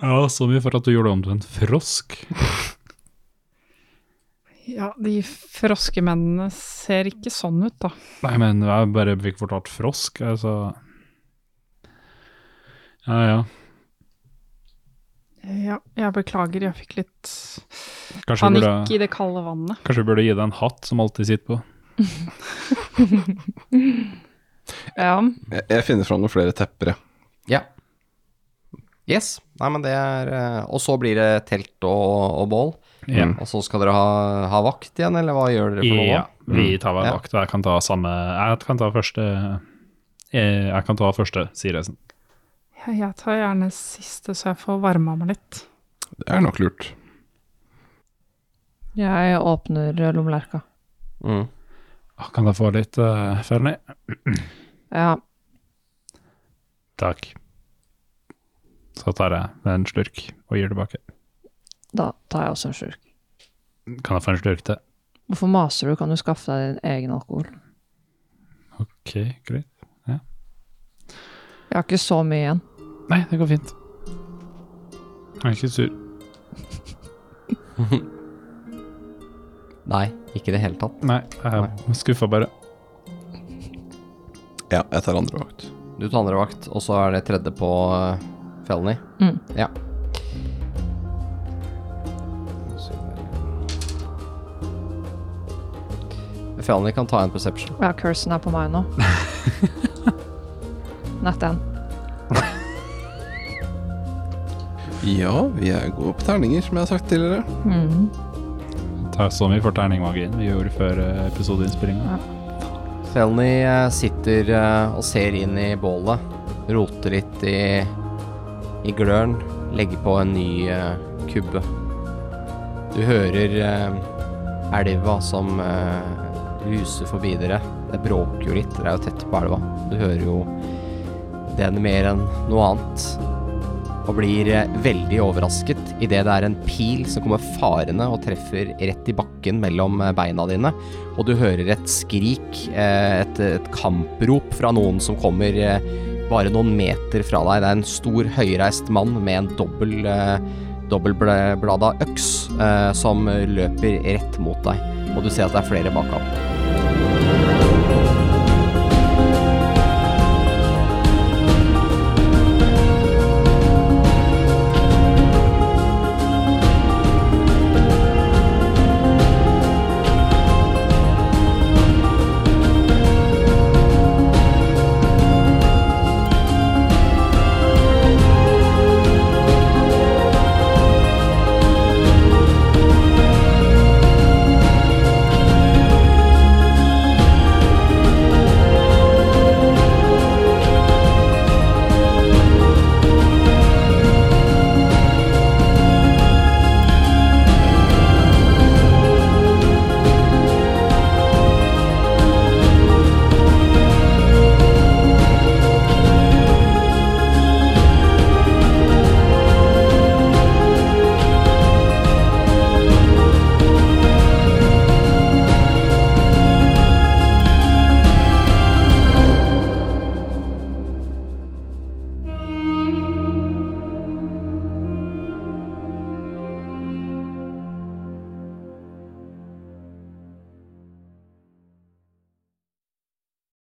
[SPEAKER 4] Ja, så mye for at du gjorde om til en frosk.
[SPEAKER 5] Ja, de froskemennene ser ikke sånn ut, da.
[SPEAKER 4] Nei, men jeg bare fikk fortalt frosk, altså. Ja, ja.
[SPEAKER 5] Ja, jeg beklager, jeg fikk litt
[SPEAKER 4] Kanskje vi burde,
[SPEAKER 5] panikk i det kalde vannet.
[SPEAKER 4] kanskje vi burde gi deg en hatt som alltid sitter på.
[SPEAKER 5] Ja,
[SPEAKER 1] Jeg, jeg finner fram noen flere teppere.
[SPEAKER 2] Ja. Yes. Nei, men det er eh, Og så blir det telt og, og bål.
[SPEAKER 4] Ja.
[SPEAKER 2] Og så skal dere ha, ha vakt igjen, eller hva gjør dere for noe?
[SPEAKER 4] Mm. Ja,
[SPEAKER 2] da?
[SPEAKER 4] vi tar hver
[SPEAKER 2] Ja.
[SPEAKER 4] vakt, og jeg kan ta samme Jeg kan ta første eh, Jeg kan ta første, sier Reisen.
[SPEAKER 5] jeg- jeg tar gjerne siste, så jeg får varma meg litt.
[SPEAKER 1] Det er nok lurt.
[SPEAKER 6] Jeg åpner lommelerka.
[SPEAKER 2] Mm.
[SPEAKER 4] Kan jeg få litt uh, Fernie?
[SPEAKER 6] Ja,
[SPEAKER 4] Takk. Så tar jeg en slurk og gir tilbake.
[SPEAKER 6] da tar jeg også en slurk.
[SPEAKER 4] Kan jeg få en slurk til?
[SPEAKER 6] Hvorfor maser du? Kan du skaffe deg din egen alkohol?
[SPEAKER 4] Ok, greit.
[SPEAKER 6] Jeg har ikke så mye igjen.
[SPEAKER 4] Nei, det går fint. Jeg er ikke sur.
[SPEAKER 2] Nei, ikke i det hele tatt.
[SPEAKER 8] Nei, jeg er skuffa bare.
[SPEAKER 1] Ja, jeg tar andre vakt.
[SPEAKER 2] Du tar andre vakt, og så er det tredje på uh, Felny.
[SPEAKER 6] Mm.
[SPEAKER 2] Ja. Felny kan ta en perception.
[SPEAKER 6] Ja, cursen er på meg
[SPEAKER 2] *laughs*
[SPEAKER 6] nå. Nat 1.
[SPEAKER 1] Ja, vi er gode på terninger, som jeg har sagt tidligere.
[SPEAKER 6] Mm.
[SPEAKER 8] Ta så mye for terningmagien vi gjorde før eh, episodeinnspillinga.
[SPEAKER 2] Felny eh, sitter eh, og ser inn i bålet, roter litt i, i gløren, legger på en ny eh, kubbe. Du hører eh, elva som eh, ruser forbi dere. Det bråker jo litt, dere er jo tett på elva. Du hører jo den mer enn noe annet. Og blir eh, veldig overrasket idet det er en pil som kommer farende og treffer rett i bakken mellom eh, beina dine og du hører et skrik, eh, et, et kamprop fra noen som kommer eh, bare noen meter fra deg. Det er en stor, høyreist mann med en dobbel, eh, dobbeltblada øks eh, som løper rett mot deg, og du ser at det er flere bak ham.